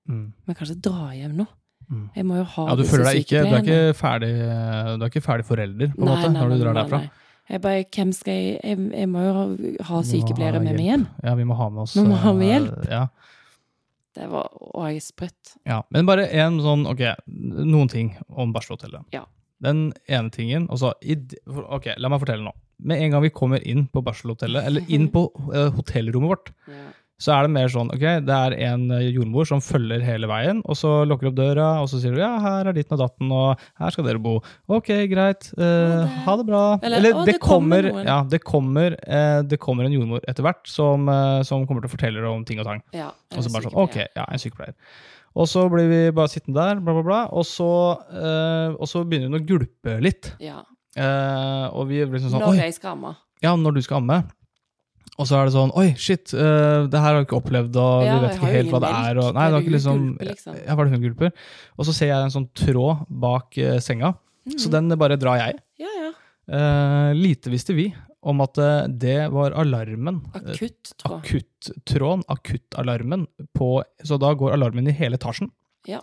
Speaker 1: Mm.
Speaker 2: Men kanskje dra hjem nå?
Speaker 1: Mm.
Speaker 2: Jeg må jo ha
Speaker 1: ja du
Speaker 2: disse
Speaker 1: føler deg ikke Du er
Speaker 2: sykepleierne.
Speaker 1: ikke ferdig, eh, du er ikke ferdig forelder, på en
Speaker 2: Nei,
Speaker 1: måte,
Speaker 2: nei,
Speaker 1: når du
Speaker 2: nei,
Speaker 1: drar
Speaker 2: nei,
Speaker 1: derfra.
Speaker 2: nei. Jeg bare, hvem skal jeg Jeg, jeg må jo ha- ha
Speaker 1: Vi må ha
Speaker 2: sykepleiere med meg
Speaker 1: hjelp.
Speaker 2: hjem.
Speaker 1: Ja, vi må ha med oss
Speaker 2: Vi må ha med
Speaker 1: eh,
Speaker 2: hjelp.
Speaker 1: Ja.
Speaker 2: Det var òg sprøtt.
Speaker 1: Ja, men bare en sånn, ok, noen ting om Barselhotellet.
Speaker 2: Ja.
Speaker 1: Den ene tingen, altså, i d- for- ok, la meg fortelle nå. Med en gang vi kommer inn på Barselhotellet, eller inn på eh, hotellrommet vårt,
Speaker 2: Ja.
Speaker 1: så er det mer sånn, ok, det er en eh, jordmor som følger hele veien, og så lukker opp døra, og så sier du, ja, her er ditten og datten, og her skal dere bo. Ok, greit, eh, ha det bra.
Speaker 2: Eller, «Å,
Speaker 1: det,
Speaker 2: det
Speaker 1: kommer,
Speaker 2: kommer noen».
Speaker 1: ja, det kommer, eh, det kommer en jordmor etter hvert, som, eh, som kommer til å fortelle deg om ting og tang.
Speaker 2: Ja,
Speaker 1: Og så bare sånn, ok,
Speaker 2: sykepleier.
Speaker 1: ja, en sykepleier. Og så blir vi bare sittende der, bla, bla, bla. Og så, eh, og så begynner hun å gulpe litt.
Speaker 2: Ja.
Speaker 1: Eh, og vi blir liksom sånn,
Speaker 2: Når
Speaker 1: oi,
Speaker 2: jeg skal amme.
Speaker 1: ja, når du skal amme. Og så er det sånn, oi, shit, eh, det her har vi ikke opplevd, og
Speaker 2: Ja,
Speaker 1: vi vet
Speaker 2: jeg
Speaker 1: ikke
Speaker 2: har jo
Speaker 1: helt hva det
Speaker 2: ingen
Speaker 1: er.
Speaker 2: melk.
Speaker 1: Og, nei, det
Speaker 2: Er
Speaker 1: var
Speaker 2: det
Speaker 1: ikke liksom,
Speaker 2: hun gulper, liksom?
Speaker 1: ja, var det hun gulper? Og så ser jeg en sånn tråd bak eh, senga,
Speaker 2: Mm.
Speaker 1: så den bare drar jeg.
Speaker 2: Ja, ja.
Speaker 1: Eh, lite visste vi om at eh, det var alarmen. eh,
Speaker 2: Akutt, tror jeg.
Speaker 1: akuttråden, akuttalarmen, på Så da går alarmen i hele etasjen.
Speaker 2: Ja.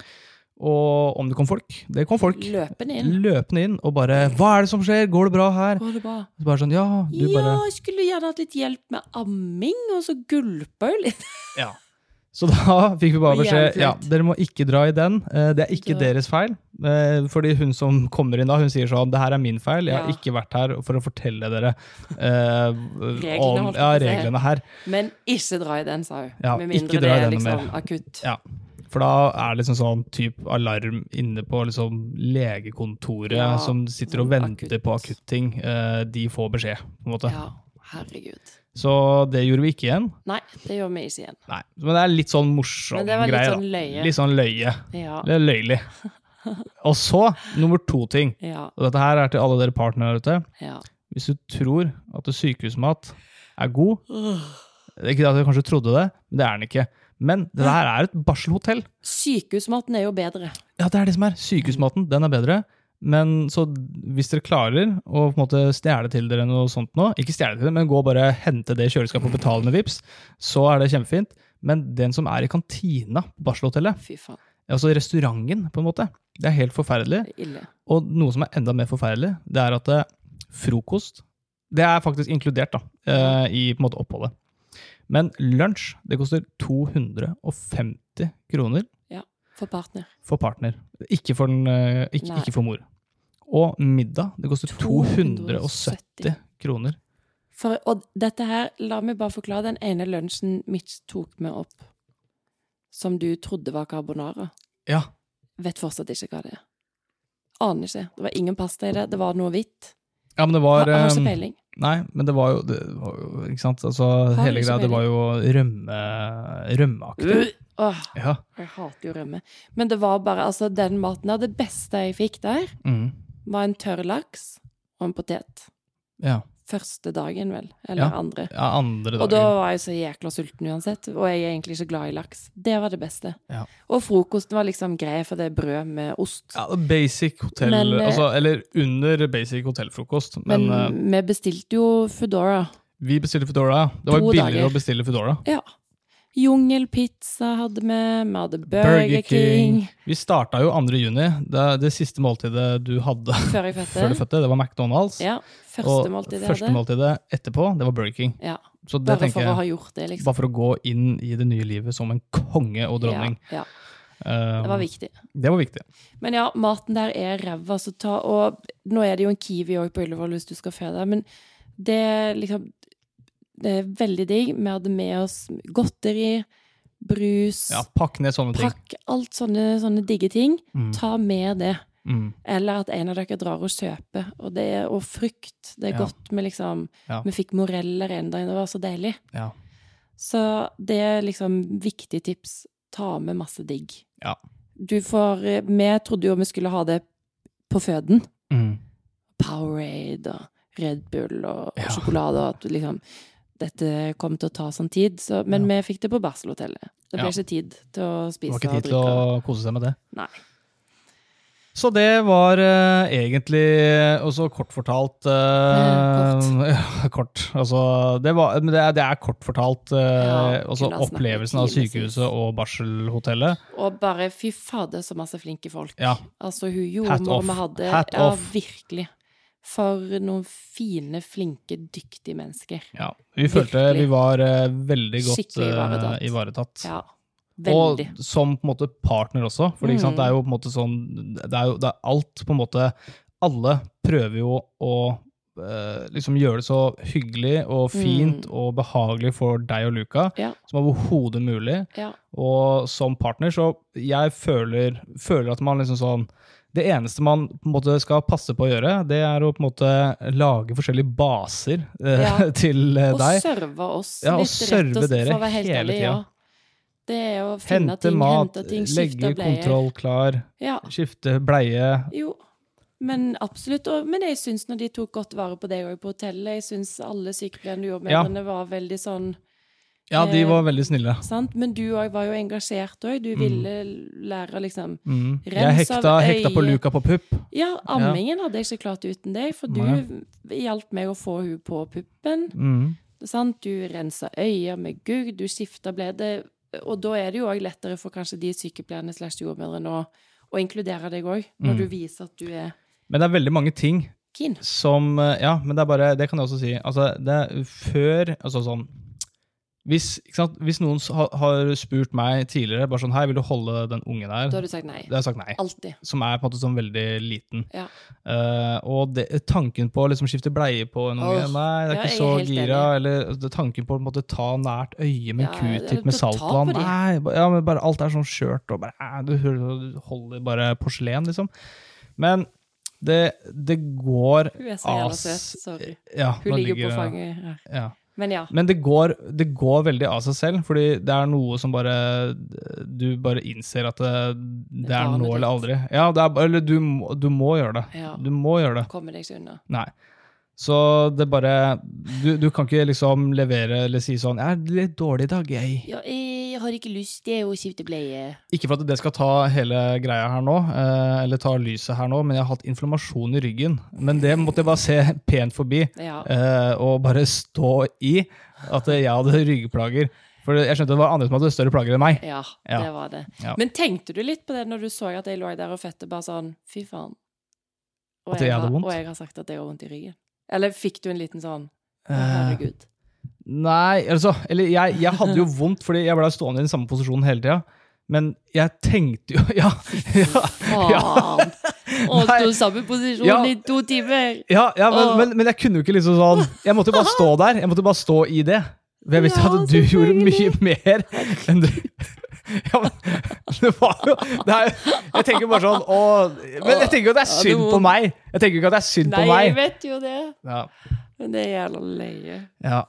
Speaker 1: Og om det kom folk Det kom folk.
Speaker 2: Løpende inn.
Speaker 1: Løpende inn og bare 'Hva er det som skjer? Går det bra her?'
Speaker 2: Går det bra?
Speaker 1: Så bare sånn, ja, du
Speaker 2: Ja,
Speaker 1: bare
Speaker 2: jeg skulle gjerne hatt litt hjelp med amming, og så gulpa jo litt.
Speaker 1: ja. Så da fikk vi bare
Speaker 2: Og
Speaker 1: beskjed
Speaker 2: jævlig
Speaker 1: ja,
Speaker 2: flaut.
Speaker 1: dere må ikke dra i den. Eh, Det er ikke
Speaker 2: Ikke-
Speaker 1: deres feil. Eh, Fordi hun som kommer inn da, hun sier sånn Det her er min feil. Jeg har
Speaker 2: Ja.
Speaker 1: ikke vært her for å fortelle dere eh,
Speaker 2: Reglene,
Speaker 1: om
Speaker 2: holdt jeg
Speaker 1: ja,
Speaker 2: på å si.
Speaker 1: reglene her.
Speaker 2: Men ikke dra i den, sa hun.
Speaker 1: Ja,
Speaker 2: Med
Speaker 1: ikke dra
Speaker 2: mindre det
Speaker 1: i
Speaker 2: er
Speaker 1: den noe
Speaker 2: liksom akutt.
Speaker 1: Ja. For da er det liksom sånn typ alarm inne på liksom legekontoret
Speaker 2: Ja,
Speaker 1: som sitter og
Speaker 2: sånn
Speaker 1: venter
Speaker 2: akutt.
Speaker 1: på akutting. Eh, De får beskjed, på en måte.
Speaker 2: Ja, herregud.
Speaker 1: Så det gjorde vi ikke igjen.
Speaker 2: Nei, det gjør vi ikke igjen.
Speaker 1: Nei, Men det er litt sånn morsom
Speaker 2: Men det var
Speaker 1: greie.
Speaker 2: litt
Speaker 1: da.
Speaker 2: sånn løye.
Speaker 1: Litt sånn løye.
Speaker 2: Ja.
Speaker 1: Det er løyelig. Og så, nummer to ting.
Speaker 2: Ja.
Speaker 1: Og dette her er til alle dere partnere der ute.
Speaker 2: ja.
Speaker 1: Hvis du tror at sykehusmat er god det er Ikke at jeg kanskje trodde det, men det er den ikke. Men det her er et barselhotell.
Speaker 2: Sykehusmaten er jo bedre.
Speaker 1: Ja, det er det som er. Sykehusmaten, den er bedre. Men så hvis dere klarer å på en måte stjele til dere noe sånt nå, ikke stjele til det, men gå og bare hente det i kjøleskapet og betale med VIPs, så er det kjempefint. Men den som er i kantina på barselhotellet,
Speaker 2: Fy faen,
Speaker 1: altså restauranten, på en måte, det er helt forferdelig.
Speaker 2: det er ille.
Speaker 1: Og noe som er enda mer forferdelig, det er at eh, frokost Det er faktisk inkludert da, eh, i på en måte oppholdet. Men lunsj det koster 250 kroner
Speaker 2: For partner.
Speaker 1: for partner. Ikke for, den, eh, ikke,
Speaker 2: Nei.
Speaker 1: ikke for mor. Og middag det koster 270 kroner.
Speaker 2: For, og dette her, la meg bare forklare den ene lunsjen Mitch tok med opp, som du trodde var carbonara.
Speaker 1: Ja,
Speaker 2: Vet fortsatt ikke hva det er. Aner ikke. Det var ingen pasta i det. Det var noe hvitt.
Speaker 1: ja men det
Speaker 2: Har,
Speaker 1: var
Speaker 2: har ikke
Speaker 1: eh,
Speaker 2: peiling.
Speaker 1: Nei, men det var jo, det var jo Ikke sant? Altså,
Speaker 2: Har
Speaker 1: hele
Speaker 2: ikke
Speaker 1: greia, det var jo rømme, rømmeaktig.
Speaker 2: Øh, Åh,
Speaker 1: Ja.
Speaker 2: jeg hater jo rømme. Men det var bare altså, den maten der. Det beste jeg fikk der,
Speaker 1: Mm,
Speaker 2: var en tørr laks og en potet.
Speaker 1: ja.
Speaker 2: Første dagen, vel. Eller
Speaker 1: Ja.
Speaker 2: andre.
Speaker 1: ja. Andre
Speaker 2: Og da
Speaker 1: dagen.
Speaker 2: var jeg så jækla sulten uansett, og jeg er egentlig ikke glad i laks. Det var det beste.
Speaker 1: Ja.
Speaker 2: Og frokosten var liksom grei, for det er brød med ost.
Speaker 1: Ja, basic hotell
Speaker 2: Men, eh,
Speaker 1: altså, Eller under basic hotellfrokost. Men,
Speaker 2: men
Speaker 1: eh,
Speaker 2: vi bestilte jo Foodora.
Speaker 1: vi bestilte Foodora. Det var
Speaker 2: to
Speaker 1: billigere
Speaker 2: dager.
Speaker 1: å bestille Foodora.
Speaker 2: Ja. Jungelpizza hadde vi, vi hadde Burger, King.
Speaker 1: Vi starta jo 2. juni. Det, det siste måltidet du hadde
Speaker 2: Før jeg
Speaker 1: før du
Speaker 2: fødte.
Speaker 1: fødte, det var McDonald's.
Speaker 2: Ja, første
Speaker 1: og
Speaker 2: måltid jeg
Speaker 1: første
Speaker 2: hadde.
Speaker 1: måltidet etterpå, det var Burger King.
Speaker 2: Ja,
Speaker 1: Så det
Speaker 2: bare
Speaker 1: tenker
Speaker 2: for å
Speaker 1: jeg,
Speaker 2: ha gjort det, liksom.
Speaker 1: bare for å gå inn i det nye livet som en konge og dronning.
Speaker 2: Ja, ja,
Speaker 1: Eh,
Speaker 2: det var viktig.
Speaker 1: det var viktig.
Speaker 2: Men ja, maten der er ræva, så ta Og nå er det jo en kiwi òg på Ullevål hvis du skal føde, men det er liksom Det er veldig digg. Vi hadde med oss godteri, brus,
Speaker 1: Ja, pakk ned sånne ting.
Speaker 2: pakk, alt sånne, sånne digge ting.
Speaker 1: Mm,
Speaker 2: Ta med det.
Speaker 1: mm.
Speaker 2: Eller at en av dere drar og kjøper. Og, det er, og frukt. Det er
Speaker 1: Ja.
Speaker 2: godt med liksom
Speaker 1: Ja.
Speaker 2: Vi fikk moreller en dag, det var så deilig.
Speaker 1: Ja.
Speaker 2: Så det er liksom viktig tips. Ta med masse digg.
Speaker 1: Ja.
Speaker 2: Du får Vi trodde jo vi skulle ha det på føden.
Speaker 1: Mm.
Speaker 2: Powerade og Red Bull og,
Speaker 1: Ja.
Speaker 2: og sjokolade og at du liksom Dette kom til å ta sånn tid, så, men vi fikk det på barselhotellet. Det ble
Speaker 1: Ja.
Speaker 2: ikke tid til å
Speaker 1: Det
Speaker 2: spise
Speaker 1: var ikke
Speaker 2: og
Speaker 1: tid til å
Speaker 2: drikke.
Speaker 1: kose seg med det.
Speaker 2: Nei.
Speaker 1: Så det var eh, egentlig eh, også kort fortalt eh, ja, kort. Altså, det, var, men det, er, det er kort fortalt eh,
Speaker 2: Ja,
Speaker 1: også
Speaker 2: kunne ha snakket
Speaker 1: opplevelsen av
Speaker 2: timevis.
Speaker 1: sykehuset og barselhotellet.
Speaker 2: Og bare fy fader, så masse flinke folk.
Speaker 1: Ja.
Speaker 2: Altså, hun
Speaker 1: off.
Speaker 2: jordmor vi hadde
Speaker 1: Hat
Speaker 2: Ja,
Speaker 1: off.
Speaker 2: virkelig. For noen fine, flinke, dyktige mennesker.
Speaker 1: Ja, vi følte
Speaker 2: Virkelig.
Speaker 1: vi var eh, veldig godt
Speaker 2: Skikkelig ivaretatt.
Speaker 1: eh, ivaretatt.
Speaker 2: Ja. Veldig.
Speaker 1: Og som på en måte partner også. For ikke sant,
Speaker 2: Mm.
Speaker 1: det er jo på en måte sånn Det er jo det er alt på en måte Alle prøver jo å eh, liksom gjøre det så hyggelig og
Speaker 2: Mm.
Speaker 1: fint og behagelig for deg og Luca
Speaker 2: Ja.
Speaker 1: som overhodet mulig.
Speaker 2: Ja.
Speaker 1: Og som partner, så jeg føler, føler at man liksom sånn Det eneste man på en måte skal passe på å gjøre, det er å på en måte lage forskjellige baser eh,
Speaker 2: Ja.
Speaker 1: til eh,
Speaker 2: Og
Speaker 1: deg.
Speaker 2: serve oss.
Speaker 1: Ja, og
Speaker 2: litt rett
Speaker 1: serve dere
Speaker 2: for å være helt
Speaker 1: hele
Speaker 2: ærlig,
Speaker 1: tida.
Speaker 2: ja. Det er å finne
Speaker 1: Hente
Speaker 2: ting,
Speaker 1: mat,
Speaker 2: hente ting, skifte
Speaker 1: legge
Speaker 2: bleier.
Speaker 1: kontroll klar,
Speaker 2: Ja,
Speaker 1: skifte bleie.
Speaker 2: jo. Men absolutt. Og, men jeg syns når de tok godt vare på deg òg på hotellet, jeg syns alle sykepleierne og jordmødrene var veldig sånn
Speaker 1: Ja, de
Speaker 2: Eh,
Speaker 1: var veldig snille.
Speaker 2: sant? Men du òg var jo engasjert òg. Du ville lære liksom
Speaker 1: Mm. Jeg
Speaker 2: rens av
Speaker 1: hekta, hekta på
Speaker 2: øyet.
Speaker 1: Luca på pupp.
Speaker 2: Ja, ammingen hadde jeg ikke klart uten deg, for du hjalp meg å få hun på puppen.
Speaker 1: Mm.
Speaker 2: Sant? Du rensa øyer med gugg, du skifta blede. Og da er det jo òg lettere for kanskje de sykepleierne slash jordmødrene å, å inkludere deg òg, når
Speaker 1: Mm.
Speaker 2: du viser at du er
Speaker 1: Men det er veldig mange ting
Speaker 2: keen.
Speaker 1: som eh, Ja, men det er bare Det kan jeg også si. Altså, det er før Altså sånn Hvis, ikke sant? Hvis noen s- ha- har spurt meg tidligere bare sånn, hei, vil du holde den ungen der,
Speaker 2: Da
Speaker 1: da
Speaker 2: har du sagt nei.
Speaker 1: har jeg sagt nei.
Speaker 2: Alltid.
Speaker 1: Som er på en måte sånn veldig liten.
Speaker 2: Ja.
Speaker 1: Eh, og det, tanken på å liksom skifte bleie på en unge
Speaker 2: Åh,
Speaker 1: Nei, det er
Speaker 2: ja,
Speaker 1: ikke
Speaker 2: jeg
Speaker 1: så
Speaker 2: er helt
Speaker 1: gira. Eller altså, det- tanken på å på en måte, ta nært øye med en
Speaker 2: Ja,
Speaker 1: q-tip
Speaker 2: eller
Speaker 1: med
Speaker 2: ta på
Speaker 1: saltvann.
Speaker 2: de.
Speaker 1: Nei, ba- ja, men bare alt er sånn skjørt, og bare, eh, du, hører- du holder bare porselen, liksom. Men det, det går
Speaker 2: Hun er så jævla
Speaker 1: as-
Speaker 2: søt. Sorry.
Speaker 1: ja,
Speaker 2: Hun
Speaker 1: nå
Speaker 2: ligger på
Speaker 1: hun-
Speaker 2: fanget her.
Speaker 1: Ja.
Speaker 2: Men ja.
Speaker 1: Men det går, det går veldig av seg selv, fordi det er noe som bare Du bare innser at det, det er
Speaker 2: barnet
Speaker 1: nå eller
Speaker 2: ditt.
Speaker 1: aldri. Ja, det er, ba- eller du, må- du må gjøre det.
Speaker 2: ja.
Speaker 1: Du må gjøre det.
Speaker 2: Komme deg ikke unna.
Speaker 1: Nei. Så det bare Du, du kan ikke liksom levere eller si sånn 'Jeg er litt dårlig i dag, jeg'.
Speaker 2: Ja, jeg har ikke lyst til å skifte bleie.
Speaker 1: Ikke for at det skal ta hele greia her nå, eh, eller ta lyset her nå, men jeg har hatt inflammasjon i ryggen. Men det måtte jeg bare se pent forbi.
Speaker 2: Ja.
Speaker 1: eh, og bare stå i at jeg hadde ryggplager. For jeg skjønte det var andre som hadde større plager enn meg.
Speaker 2: Ja,
Speaker 1: Ja.
Speaker 2: det var det.
Speaker 1: Ja.
Speaker 2: Men tenkte du litt på det når du så at jeg lå der og fødte, bare sånn fy faen? Og
Speaker 1: At jeg
Speaker 2: har-
Speaker 1: hadde vondt?
Speaker 2: Og jeg har sagt at jeg har vondt i ryggen. Eller fikk du en liten sånn å,
Speaker 1: Eh,
Speaker 2: herregud.
Speaker 1: nei, altså Eller jeg, jeg hadde jo vondt, fordi jeg ble stående i den samme posisjonen hele tida. Men jeg tenkte jo Ja! ja, ja.
Speaker 2: Faen! Og
Speaker 1: Nei.
Speaker 2: sto i samme posisjon
Speaker 1: Ja.
Speaker 2: i to timer!
Speaker 1: Ja, ja men,
Speaker 2: Åh.
Speaker 1: men, men jeg kunne jo ikke liksom sånn Jeg måtte bare stå der. Jeg måtte bare stå i det. For jeg visste
Speaker 2: Ja,
Speaker 1: at du gjorde mye
Speaker 2: selvfølgelig.
Speaker 1: mer enn du Ja, men det var jo det er, jo- Jeg tenker bare sånn Å Men jeg tenker jo at det er
Speaker 2: Ja, det
Speaker 1: synd
Speaker 2: må-
Speaker 1: på meg. Jeg tenker jo ikke at det er synd
Speaker 2: Nei,
Speaker 1: på
Speaker 2: jeg
Speaker 1: meg.
Speaker 2: vet jo det.
Speaker 1: Ja,
Speaker 2: Men det er jævla løye.
Speaker 1: ja.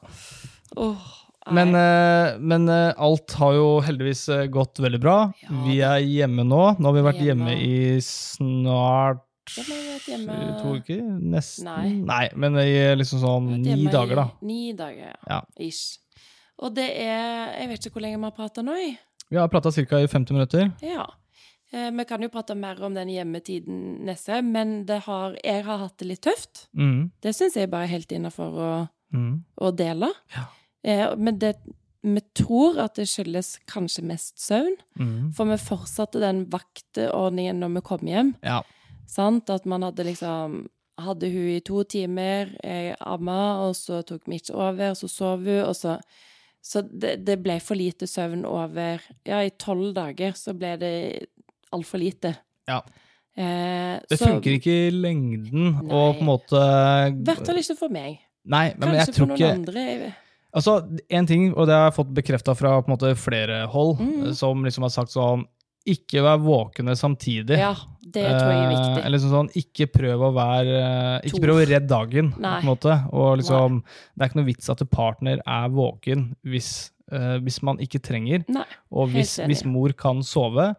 Speaker 2: Åh, nei.
Speaker 1: Men, eh, men eh, alt har jo heldigvis eh, gått veldig bra.
Speaker 2: Ja,
Speaker 1: Vi er hjemme nå. Nå har vi vært hjemme,
Speaker 2: Hjemme.
Speaker 1: i snart
Speaker 2: Ja, men jeg har vært hjemme-
Speaker 1: to uker? Nesten?
Speaker 2: Nei.
Speaker 1: men i liksom sånn
Speaker 2: Jeg har vært
Speaker 1: ni
Speaker 2: hjemme
Speaker 1: dager, da.
Speaker 2: i Ni dager, ja.
Speaker 1: Ja.
Speaker 2: Ish. Og det er Jeg vet ikke hvor lenge vi har prata nå, jeg.
Speaker 1: Vi har prata ca. i 50 minutter.
Speaker 2: Ja. Eh, Vi kan jo prate mer om den hjemmetiden neste, men det har, jeg har hatt det litt tøft.
Speaker 1: Mm.
Speaker 2: Det syns jeg bare er helt innafor å,
Speaker 1: Mm.
Speaker 2: å dele.
Speaker 1: Ja.
Speaker 2: Eh, Men det, vi tror at det skyldes kanskje mest søvn,
Speaker 1: Mm.
Speaker 2: for vi fortsatte den vaktordningen når vi kom hjem.
Speaker 1: Ja.
Speaker 2: Sant? At man hadde liksom Hadde hun i to timer, jeg amma, og så tok vi ikke over, så sov hun, og så Så det, det ble for lite søvn over Ja, i tolv dager så ble det altfor lite.
Speaker 1: Ja.
Speaker 2: Eh,
Speaker 1: Det
Speaker 2: så-
Speaker 1: funker ikke i lengden
Speaker 2: Nei.
Speaker 1: og på en måte
Speaker 2: I hvert fall ikke for meg.
Speaker 1: Nei, men jeg
Speaker 2: Kanskje for
Speaker 1: tror
Speaker 2: noen
Speaker 1: ikke
Speaker 2: andre. jeg-
Speaker 1: Altså, en ting, og det har jeg fått bekrefta fra på en måte flere hold,
Speaker 2: Mm.
Speaker 1: som liksom har sagt sånn Ikke vær våkne samtidig.
Speaker 2: Ja, det tror jeg er
Speaker 1: Eh,
Speaker 2: viktig.
Speaker 1: eller sånn, sånn, ikke prøv å være eh, Ikke
Speaker 2: Tor.
Speaker 1: prøv å redde dagen, på
Speaker 2: Nei.
Speaker 1: en måte. Og liksom, det er ikke noe vits at partner er våken hvis, eh, hvis man ikke trenger.
Speaker 2: Nei,
Speaker 1: Og
Speaker 2: helt
Speaker 1: hvis,
Speaker 2: enig.
Speaker 1: hvis mor kan sove,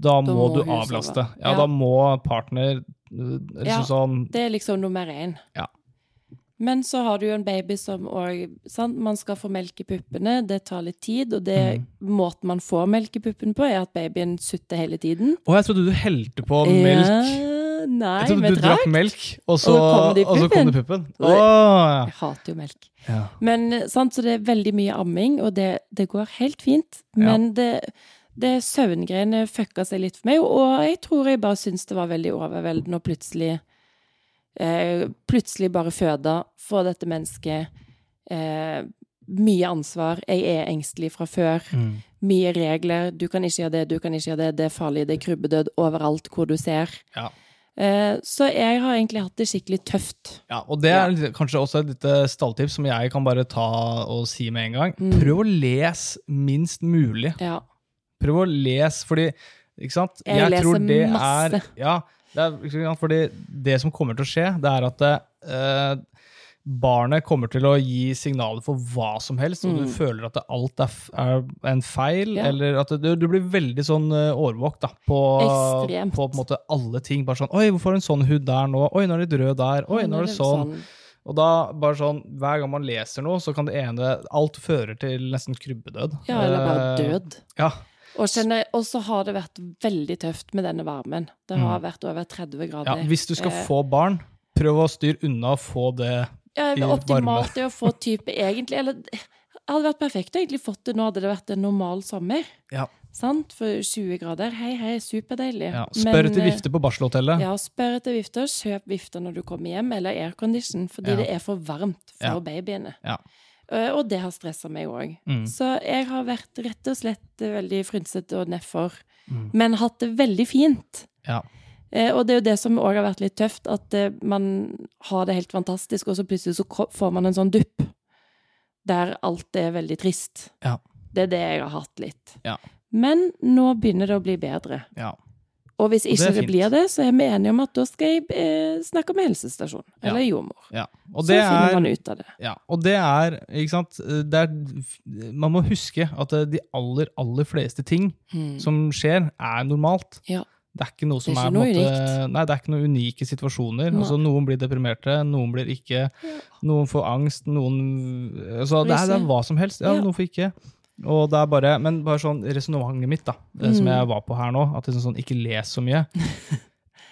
Speaker 1: da, må,
Speaker 2: må
Speaker 1: du
Speaker 2: hun
Speaker 1: avlaste.
Speaker 2: sove.
Speaker 1: Ja,
Speaker 2: Ja.
Speaker 1: da må partner eh, liksom
Speaker 2: Ja.
Speaker 1: sånn
Speaker 2: Det er liksom nummer én.
Speaker 1: Ja.
Speaker 2: Men så har du jo en baby som òg sant? Man skal få melk i puppene, det tar litt tid, og det
Speaker 1: Mm.
Speaker 2: måten man får melk i puppen på, er at babyen sutter hele tiden.
Speaker 1: Å, jeg trodde du helte på melk.
Speaker 2: Ja,
Speaker 1: Jeg
Speaker 2: nei,
Speaker 1: trodde
Speaker 2: med
Speaker 1: du drakk
Speaker 2: drakk.
Speaker 1: melk, og så,
Speaker 2: Og det kom det i
Speaker 1: og så kom det i puppen. Å,
Speaker 2: Jeg hater jo melk.
Speaker 1: ja. ja.
Speaker 2: Men eh, sant, så det er veldig mye amming, og det, det går helt fint.
Speaker 1: Ja.
Speaker 2: Men det, det søvngreiene fucka seg litt for meg, og jeg tror jeg bare syns det var veldig overveldende å plutselig eh, Plutselig bare føde, få dette mennesket eh, Mye ansvar. Jeg er engstelig fra før.
Speaker 1: Mm.
Speaker 2: Mye regler. Du kan ikke gjøre det, du kan ikke gjøre det. Det er farlig. Det er krybbedød overalt hvor du ser.
Speaker 1: Ja.
Speaker 2: Eh, så jeg har egentlig hatt det skikkelig tøft.
Speaker 1: Ja, og det er litt- kanskje også et lite stalltips som jeg kan bare ta og si med en gang.
Speaker 2: Mm.
Speaker 1: Prøv å lese minst mulig.
Speaker 2: Ja.
Speaker 1: Prøv å lese, fordi ikke sant?
Speaker 2: Jeg leser
Speaker 1: er,
Speaker 2: masse.
Speaker 1: ja, det er, ikke sant, fordi det som kommer til å skje, det er at eh, barnet kommer til å gi signaler for hva som helst, og du føler at det, alt er, f- er en feil,
Speaker 2: Mm. Ja.
Speaker 1: eller at du, du blir veldig sånn eh, årvåk da, på, på,
Speaker 2: Ekstremt.
Speaker 1: på en måte alle ting. Bare sånn, oi, hvorfor har hun sånn hud der nå? Oi, nå er det litt rød der. Oi, nå er det sånn. Og da, bare sånn, hver gang man leser noe, så kan det ene Alt fører til nesten krybbedød.
Speaker 2: Ja, eller bare
Speaker 1: Eh,
Speaker 2: død.
Speaker 1: Ja.
Speaker 2: Og kjenner- og så har det vært veldig tøft med denne varmen. Det har vært over 30
Speaker 1: Mm. ja.
Speaker 2: grader.
Speaker 1: Hvis du skal
Speaker 2: Eh,
Speaker 1: få barn, prøv å styre unna å få det
Speaker 2: ja,
Speaker 1: i
Speaker 2: Optimalt er å få type egentlig Eller det hadde vært perfekt å egentlig fått det nå, hadde det vært en normal sommer.
Speaker 1: Ja.
Speaker 2: Sant? For 20 grader, hei, hei, superdeilig.
Speaker 1: ja. Spør
Speaker 2: Men,
Speaker 1: etter
Speaker 2: eh,
Speaker 1: vifte på barselhotellet.
Speaker 2: Ja, spør etter vifter. Kjøp vifter når du kommer hjem, eller aircondition, fordi
Speaker 1: Ja.
Speaker 2: det er for varmt for
Speaker 1: Ja.
Speaker 2: babyene.
Speaker 1: Ja.
Speaker 2: Eh, Og det har stressa meg òg.
Speaker 1: Mm.
Speaker 2: Så jeg har vært rett og slett eh, veldig frynsete og nedfor,
Speaker 1: Mm.
Speaker 2: men hatt det veldig fint.
Speaker 1: Ja.
Speaker 2: Eh, og det er jo det som òg har vært litt tøft, at eh, man har det helt fantastisk, og så plutselig så ko- får man en sånn dupp der alt er veldig trist.
Speaker 1: Ja.
Speaker 2: Det er det jeg har hatt litt.
Speaker 1: Ja.
Speaker 2: Men nå begynner det å bli bedre.
Speaker 1: ja.
Speaker 2: Og hvis
Speaker 1: det er
Speaker 2: ikke det,
Speaker 1: fint.
Speaker 2: blir det, så er vi enige om at da skal jeg eh, snakke med helsestasjon
Speaker 1: Ja.
Speaker 2: eller jordmor.
Speaker 1: ja. Og
Speaker 2: Så
Speaker 1: det
Speaker 2: finner
Speaker 1: er
Speaker 2: man ut av det.
Speaker 1: Ja, og det er, ikke sant det er, Man må huske at de aller, aller fleste ting
Speaker 2: Mm.
Speaker 1: som skjer, er normalt.
Speaker 2: Ja.
Speaker 1: Det er ikke noe som
Speaker 2: Det er
Speaker 1: er,
Speaker 2: ikke
Speaker 1: på en
Speaker 2: noe
Speaker 1: måte, Nei, det er ikke noen unike situasjoner.
Speaker 2: Nei.
Speaker 1: Altså, noen blir deprimerte, noen blir ikke.
Speaker 2: Ja.
Speaker 1: Noen får angst, noen altså, det, er, det er hva som helst. Ja,
Speaker 2: Ja.
Speaker 1: Noen får ikke. Og det er bare, men bare sånn resonnementet mitt, da, eh, som
Speaker 2: Mm.
Speaker 1: jeg var på her nå, at det er sånn, ikke les så mye.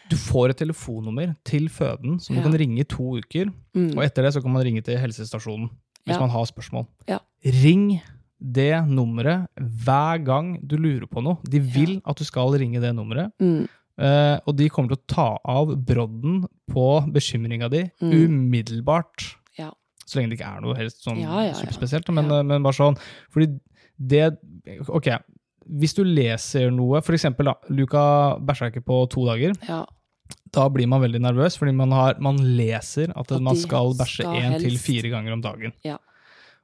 Speaker 1: Du får et telefonnummer til føden som
Speaker 2: Ja.
Speaker 1: du kan ringe i to uker.
Speaker 2: Mm.
Speaker 1: Og etter det så kan man ringe til helsestasjonen hvis
Speaker 2: Ja.
Speaker 1: man har spørsmål.
Speaker 2: Ja.
Speaker 1: Ring det nummeret hver gang du lurer på noe. De vil at du skal ringe det nummeret.
Speaker 2: Mm.
Speaker 1: eh, og de kommer til å ta av brodden på bekymringa di
Speaker 2: Mm.
Speaker 1: umiddelbart.
Speaker 2: Ja.
Speaker 1: Så lenge det ikke er noe helst sånn
Speaker 2: Ja, ja, ja.
Speaker 1: superspesielt. Men,
Speaker 2: Ja.
Speaker 1: eh, men bare sånn Fordi det Ok, hvis du leser noe, f.eks. Luka bæsja ikke på to dager
Speaker 2: Ja.
Speaker 1: da blir man veldig nervøs, fordi man, har, man leser at,
Speaker 2: At
Speaker 1: man
Speaker 2: de
Speaker 1: skal bæsje
Speaker 2: skal
Speaker 1: én til
Speaker 2: helst.
Speaker 1: fire ganger om dagen.
Speaker 2: Ja.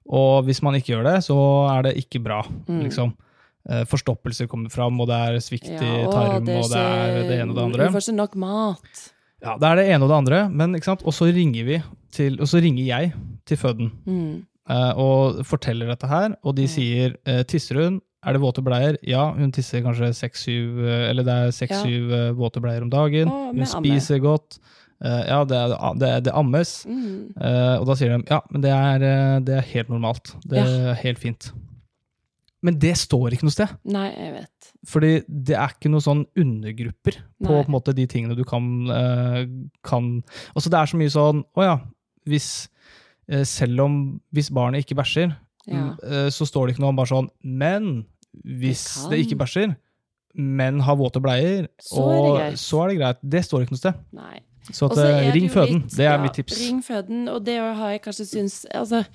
Speaker 1: Og hvis man ikke gjør det, så er det ikke bra,
Speaker 2: Mm.
Speaker 1: liksom. Eh, Forstoppelser kommer fram, og det er svikt i
Speaker 2: og
Speaker 1: tarm,
Speaker 2: det er
Speaker 1: og det er
Speaker 2: ikke-
Speaker 1: det ene og det andre.
Speaker 2: Du får ikke nok mat.
Speaker 1: Ja, det er det ene og det andre, men ikke sant? Og så ringer vi til, og så ringer jeg til føden
Speaker 2: Mm.
Speaker 1: eh, og forteller dette her, og de
Speaker 2: Mm.
Speaker 1: sier eh, tisser hun? Er det våte bleier? Ja, hun tisser kanskje seks-syv eh, Eller det er
Speaker 2: Ja.
Speaker 1: seks-syv eh, våte bleier om dagen.
Speaker 2: Å,
Speaker 1: hun
Speaker 2: med amme.
Speaker 1: spiser godt. Eh, ja, det, er, det, er, det ammes.
Speaker 2: Mm.
Speaker 1: Eh, og da sier de ja, men det er, eh, det er helt normalt. Det er helt fint. Men det står ikke noe sted.
Speaker 2: Nei, jeg vet.
Speaker 1: Fordi det er ikke noen sånn undergrupper på,
Speaker 2: Nei.
Speaker 1: på en måte, de tingene du kan, eh, kan Altså det er så mye sånn Å ja, hvis eh, Selv om hvis barnet ikke bæsjer,
Speaker 2: Ja.
Speaker 1: mm, eh, så står det ikke noe om bare sånn Men hvis
Speaker 2: kan.
Speaker 1: det ikke bæsjer, men har våte bleier,
Speaker 2: Så er det
Speaker 1: og
Speaker 2: greit.
Speaker 1: så er det greit. Det står ikke noe sted.
Speaker 2: Nei.
Speaker 1: Så
Speaker 2: Og
Speaker 1: at,
Speaker 2: så
Speaker 1: eh,
Speaker 2: er det
Speaker 1: ring
Speaker 2: jo
Speaker 1: føden.
Speaker 2: litt-
Speaker 1: Det er
Speaker 2: ja,
Speaker 1: mitt tips.
Speaker 2: Ring føden, og det har jeg kanskje syns Altså,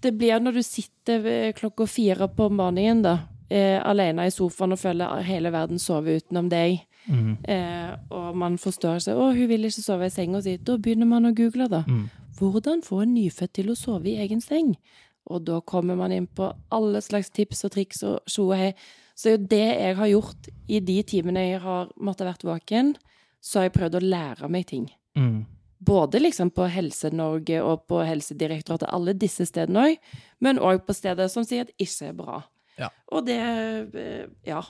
Speaker 2: det blir når du sitter ved klokka fire på morgenen, da, eh, alene i sofaen og føler hele verden sove utenom deg,
Speaker 1: Mm,
Speaker 2: eh, og man forstår seg Å, hun vil ikke sove i senga si. Da begynner man å google, da.
Speaker 1: mm,
Speaker 2: Hvordan få en nyfødt til å sove i egen seng? Og da kommer man inn på alle slags tips og triks og tjo og hei. Så jo det jeg har gjort i de timene jeg har måttet vært våken, så har jeg prøvd å lære meg ting.
Speaker 1: mm.
Speaker 2: Både liksom på Helse-Norge og på Helsedirektoratet, alle disse stedene òg, men òg på steder som sier at ikke er bra.
Speaker 1: Ja.
Speaker 2: Og det eh, Ja.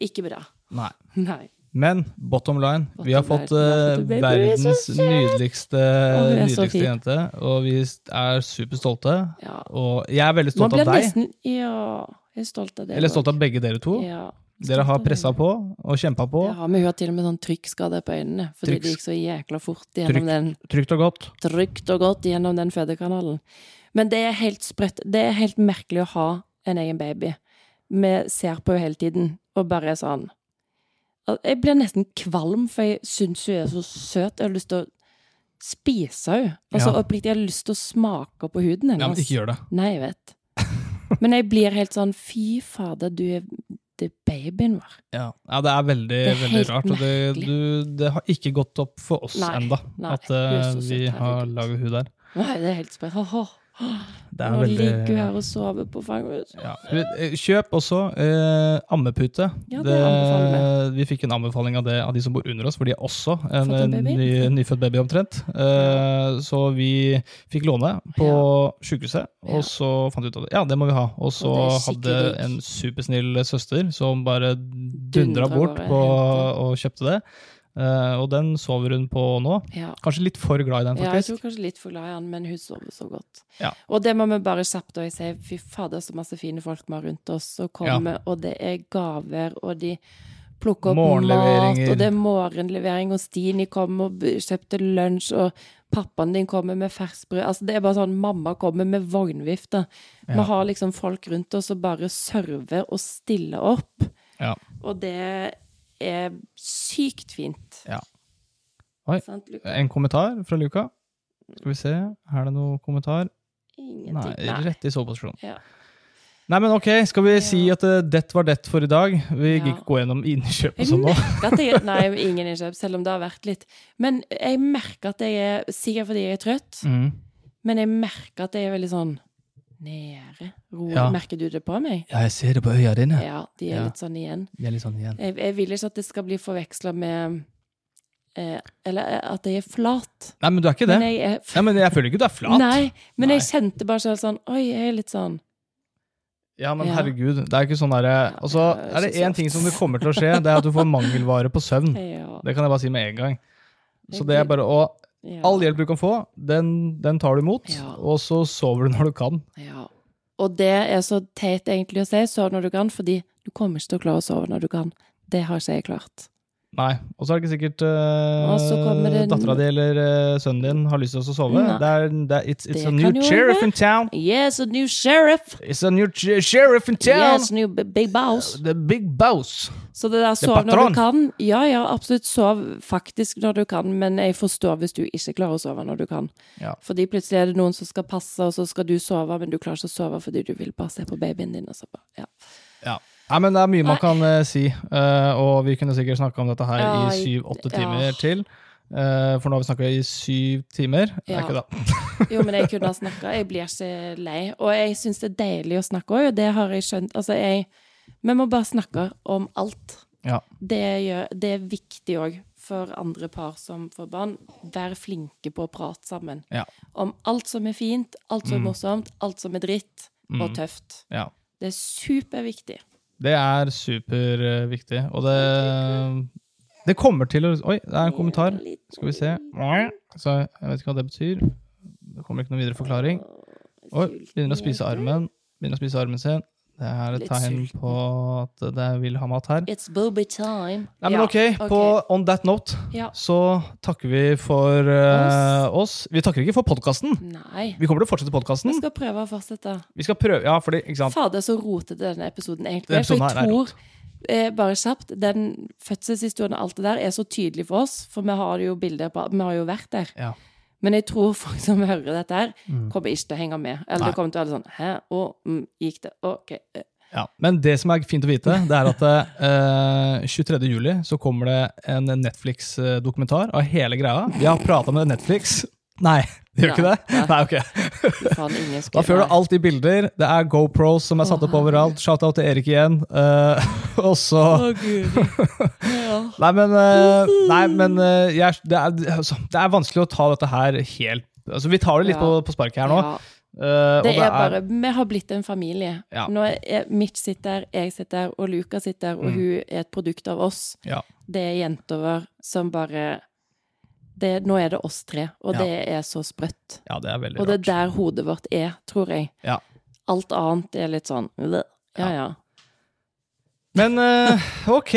Speaker 2: Ikke bra.
Speaker 1: Nei.
Speaker 2: Nei.
Speaker 1: Men bottom line, vi har
Speaker 2: Bottom
Speaker 1: fått
Speaker 2: line, vi
Speaker 1: eh,
Speaker 2: har fått en baby,
Speaker 1: verdens
Speaker 2: så søt!
Speaker 1: nydeligste,
Speaker 2: hun er så
Speaker 1: nydeligste
Speaker 2: fin.
Speaker 1: jente, og vi er superstolte.
Speaker 2: Ja.
Speaker 1: Og jeg er veldig
Speaker 2: Man
Speaker 1: stolt
Speaker 2: blir
Speaker 1: av deg.
Speaker 2: nesten Ja. Jeg er stolt av det.
Speaker 1: Eller stolt av begge dere to.
Speaker 2: ja,
Speaker 1: Dere har
Speaker 2: stolt av det.
Speaker 1: pressa på og kjempa på.
Speaker 2: Ja, men hun har til og med sånn trykkskade på øynene, fordi
Speaker 1: Trykks-
Speaker 2: det gikk så jækla fort gjennom
Speaker 1: Trykk.
Speaker 2: den,
Speaker 1: Trygt og godt.
Speaker 2: trygt og godt gjennom den fødekanalen. Men det er helt sprøtt. Det er helt merkelig å ha en egen baby. Vi ser på henne hele tiden, og bare er sånn Al- Jeg blir nesten kvalm, for jeg syns hun er så søt. Jeg har lyst til å spise henne. Altså,
Speaker 1: Ja.
Speaker 2: Oppriktig, jeg har lyst til å smake på huden hennes.
Speaker 1: Ja, men ikke gjør det.
Speaker 2: Nei, jeg vet. Men jeg blir helt sånn Fy fader, du er, det er babyen vår.
Speaker 1: Ja, ja Det er veldig
Speaker 2: er
Speaker 1: veldig
Speaker 2: helt
Speaker 1: rart. Og det,
Speaker 2: merkelig.
Speaker 1: du, det har ikke gått opp for oss
Speaker 2: Nei,
Speaker 1: ennå
Speaker 2: nei,
Speaker 1: at
Speaker 2: hun er
Speaker 1: eh,
Speaker 2: så søt,
Speaker 1: vi har
Speaker 2: herregud.
Speaker 1: laga hun der.
Speaker 2: Nei, det er helt sprøtt. Ho, ho.
Speaker 1: Det
Speaker 2: Nå
Speaker 1: er
Speaker 2: ligger hun
Speaker 1: veldig
Speaker 2: her og sover på fanget.
Speaker 1: ja. Eh, Kjøp også eh, ammepute.
Speaker 2: Ja, det anbefaler
Speaker 1: vi fikk en anbefaling av det av de som bor under oss, for de har også en,
Speaker 2: Fått en
Speaker 1: eh,
Speaker 2: baby.
Speaker 1: ny, nyfødt baby omtrent. Eh, så vi fikk låne på sykehuset, og
Speaker 2: Ja.
Speaker 1: så fant vi ut av det. Ja, det må vi ha. Og så
Speaker 2: Og
Speaker 1: hadde
Speaker 2: det er skikkelig digg.
Speaker 1: en supersnill søster som bare dundra
Speaker 2: Dundra
Speaker 1: bort
Speaker 2: bare
Speaker 1: på,
Speaker 2: helt
Speaker 1: og kjøpte det. Eh, og den sover hun på nå.
Speaker 2: Ja.
Speaker 1: Kanskje litt for glad i den,
Speaker 2: ja, jeg tror
Speaker 1: faktisk.
Speaker 2: kanskje litt for glad i han, men hun sover så godt.
Speaker 1: Ja.
Speaker 2: Og det må vi bare kjapt og jeg sier, fy fader, så masse fine folk vi har rundt oss som kommer, og det er gaver, og de plukker opp mat,
Speaker 1: Morgenleveringer.
Speaker 2: og det er morgenlevering, og Stini kom og b- kjøpte lunsj, og pappaen din kommer med fersbrød. Altså, det er bare sånn, mamma kommer med vognvifte.
Speaker 1: Ja.
Speaker 2: Vi har liksom folk rundt oss som bare server og stiller opp,
Speaker 1: Ja.
Speaker 2: og det er sykt fint.
Speaker 1: Ja. Oi. Eh,
Speaker 2: Sant, Lukas?
Speaker 1: En kommentar fra Luka. Skal vi se, er det noe kommentar?
Speaker 2: Ingenting.
Speaker 1: Nei, rett i soveposisjon.
Speaker 2: Ja.
Speaker 1: Nei, men ok, skal vi si
Speaker 2: Ja.
Speaker 1: at eh, det var det for i dag? Vi
Speaker 2: Ja.
Speaker 1: gikk ikke gå gjennom innkjøp og
Speaker 2: Jeg
Speaker 1: sånn nå.
Speaker 2: merker at jeg, nei, ingen innkjøp, selv om det har vært litt. Men jeg merker at jeg er Sikkert fordi jeg er trøtt,
Speaker 1: Mm.
Speaker 2: men jeg merker at jeg er veldig sånn nede. Rolig.
Speaker 1: Ja.
Speaker 2: Merker du det på meg?
Speaker 1: Ja, jeg ser det på øya dine.
Speaker 2: Ja, de
Speaker 1: Ja.
Speaker 2: er litt sånn igjen.
Speaker 1: De er litt sånn igjen.
Speaker 2: Jeg, jeg vil ikke at det skal bli forveksla med eh, Eller at jeg er flat.
Speaker 1: Nei, men du er ikke det.
Speaker 2: Men jeg er
Speaker 1: Nei, men jeg føler ikke du er flat.
Speaker 2: Nei, men
Speaker 1: Nei.
Speaker 2: jeg kjente bare selv sånn Oi, jeg er litt sånn
Speaker 1: Ja, men
Speaker 2: Ja.
Speaker 1: herregud, det er ikke sånn derre
Speaker 2: Ja,
Speaker 1: Og så
Speaker 2: det er
Speaker 1: er det
Speaker 2: så
Speaker 1: én
Speaker 2: soft.
Speaker 1: ting som det kommer til å skje, det er at du får mangelvare på søvn.
Speaker 2: Ja.
Speaker 1: Det kan jeg bare si med en gang. Så
Speaker 2: Jeg
Speaker 1: det er
Speaker 2: blir-
Speaker 1: bare å
Speaker 2: ja,
Speaker 1: All hjelp du kan få, den, den tar du imot,
Speaker 2: Ja.
Speaker 1: og så sover du når du kan.
Speaker 2: Ja. Og det er så teit egentlig å si sov når du kan, fordi du kommer ikke til å klare å sove når du kan. Det har ikke jeg klart.
Speaker 1: Nei, og så er det ikke sikkert
Speaker 2: Og så
Speaker 1: uh,
Speaker 2: kommer det en-
Speaker 1: dattera di eller eh, sønnen din har lyst til å sove.
Speaker 2: Nei.
Speaker 1: Det er, det er, it's it's
Speaker 2: Det
Speaker 1: a
Speaker 2: kan
Speaker 1: new
Speaker 2: jo
Speaker 1: sheriff in town.
Speaker 2: Yes, a new sheriff!
Speaker 1: It's a new ch- sheriff in town.
Speaker 2: Yes, new b- big boss!
Speaker 1: The big boss.
Speaker 2: Så det der
Speaker 1: Det er
Speaker 2: sov når
Speaker 1: patron.
Speaker 2: du kan Ja, ja, absolutt sov faktisk når du kan, men jeg forstår hvis du ikke klarer å sove når du kan.
Speaker 1: Ja.
Speaker 2: Fordi plutselig er det noen som skal passe, og så skal du sove, men du klarer ikke å sove fordi du vil bare se på babyen din. Og så bare, ja.
Speaker 1: Ja. Nei, men Det er mye man
Speaker 2: Nei.
Speaker 1: kan eh, si, eh, og vi kunne sikkert snakka om dette her
Speaker 2: Ja,
Speaker 1: i
Speaker 2: i-
Speaker 1: syv-åtte
Speaker 2: ja.
Speaker 1: timer til. eh, for nå har vi snakka i syv timer.
Speaker 2: Ja.
Speaker 1: Det er ikke det.
Speaker 2: Jo, men jeg kunne ha snakka. Jeg blir ikke lei. Og jeg syns det er deilig å snakke òg, og det har jeg skjønt. Altså, jeg Vi må bare snakke om alt.
Speaker 1: Ja.
Speaker 2: Det, gjør, det er viktig òg for andre par som får barn. Vær flinke på å prate sammen.
Speaker 1: Ja.
Speaker 2: Om alt som er fint, alt
Speaker 1: Mm.
Speaker 2: som er morsomt, alt som er dritt og tøft.
Speaker 1: ja.
Speaker 2: Det er superviktig.
Speaker 1: Det er superviktig, og det Det kommer til å Oi, det er en kommentar. Skal vi se. Så jeg vet ikke hva det betyr. Det kommer ikke noen videre forklaring. Oi, begynner å spise armen. Begynner å spise armen sin. Det er et
Speaker 2: Litt
Speaker 1: tegn
Speaker 2: sulten.
Speaker 1: på at det vil ha mat her.
Speaker 2: It's booby time.
Speaker 1: Nei, men
Speaker 2: Ja,
Speaker 1: ok, På, on that note
Speaker 2: Ja.
Speaker 1: så takker vi for eh, oss. Vi takker ikke for podkasten.
Speaker 2: Nei.
Speaker 1: Vi kommer til å fortsette
Speaker 2: Vi
Speaker 1: podkasten.
Speaker 2: skal prøve å fortsette.
Speaker 1: Vi skal prøve Ja, fordi, ikke sant.
Speaker 2: Fader, så rotete denne episoden egentlig
Speaker 1: Denne
Speaker 2: er. For
Speaker 1: episoden her
Speaker 2: jeg
Speaker 1: er
Speaker 2: tror, eh, bare kjapt, den fødselshistorien og alt det der er så tydelig for oss, for vi har jo bilder på Vi har jo vært der.
Speaker 1: Ja.
Speaker 2: Men jeg tror folk som hører dette her, kommer ikke til å henge med. Eller
Speaker 1: Mm. Nei.
Speaker 2: det kommer til å være sånn Hæ? Å, mm, gikk det? OK. eh,
Speaker 1: Ja, Men det som er fint å vite, det er at eh, 23. juli så kommer det en Netflix-dokumentar av hele greia. Vi har prata med Netflix. Nei, det gjør ikke
Speaker 2: Nei,
Speaker 1: det? Nei, ok.
Speaker 2: fy Faen, ingen
Speaker 1: Da
Speaker 2: skulle
Speaker 1: får du alt i bilder. Det er GoPros som er satt opp overalt. Shout-out til Erik igjen. Eh, og så
Speaker 2: Å, guri. Ja.
Speaker 1: Nei, men, eh, nei, men eh, jeg, er- det, er, altså, det er vanskelig å ta dette her helt altså, Vi tar det litt
Speaker 2: Ja.
Speaker 1: på, på sparket her nå.
Speaker 2: Ja.
Speaker 1: eh, og
Speaker 2: Det er bare Vi har blitt en familie.
Speaker 1: Ja.
Speaker 2: Nå er Mitch sitter der, jeg sitter der, og Luca sitter der,
Speaker 1: Mm.
Speaker 2: og hun er et produkt av oss.
Speaker 1: ja,
Speaker 2: det er jentover som bare det, Nå er det oss tre, og
Speaker 1: Ja.
Speaker 2: det er så sprøtt.
Speaker 1: ja, det er veldig
Speaker 2: Og det
Speaker 1: rart.
Speaker 2: er der hodet vårt er, tror jeg.
Speaker 1: Ja.
Speaker 2: Alt annet er litt sånn bleh. Ja, ja.
Speaker 1: Men eh, ok,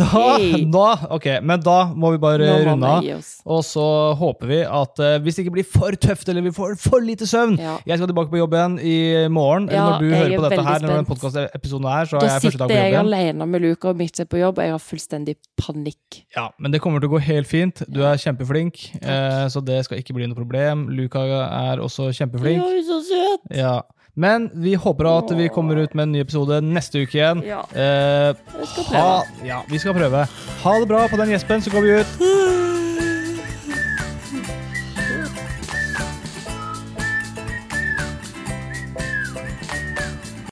Speaker 1: Da,
Speaker 2: Ok.
Speaker 1: da, ok, men da må vi bare
Speaker 2: Nå må
Speaker 1: runde av.
Speaker 2: vi gi oss.
Speaker 1: Og så håper vi at eh, hvis det ikke blir for tøft eller vi får for lite søvn
Speaker 2: Ja.
Speaker 1: Jeg skal tilbake på jobb igjen i morgen.
Speaker 2: Ja,
Speaker 1: eller når du
Speaker 2: jeg
Speaker 1: hører
Speaker 2: er
Speaker 1: på dette
Speaker 2: veldig
Speaker 1: her, når den
Speaker 2: spent.
Speaker 1: podkastepisoden er, så er
Speaker 2: Da
Speaker 1: jeg første dag
Speaker 2: sitter
Speaker 1: på jobb
Speaker 2: jeg
Speaker 1: igjen.
Speaker 2: alene med Luca og Mitch er på jobb, og jeg har fullstendig panikk.
Speaker 1: Ja, men det kommer til å gå helt fint. Du er kjempeflink, eh, så det skal ikke bli noe problem. Luka er også
Speaker 2: Ja,
Speaker 1: kjempeflink.
Speaker 2: hun er så søt!
Speaker 1: Ja. Men vi håper at vi kommer ut med en ny episode neste uke igjen.
Speaker 2: Ja.
Speaker 1: Eh,
Speaker 2: Jeg skal
Speaker 1: ha, ja, vi skal prøve. Ha det bra på den gjespen, så går vi ut.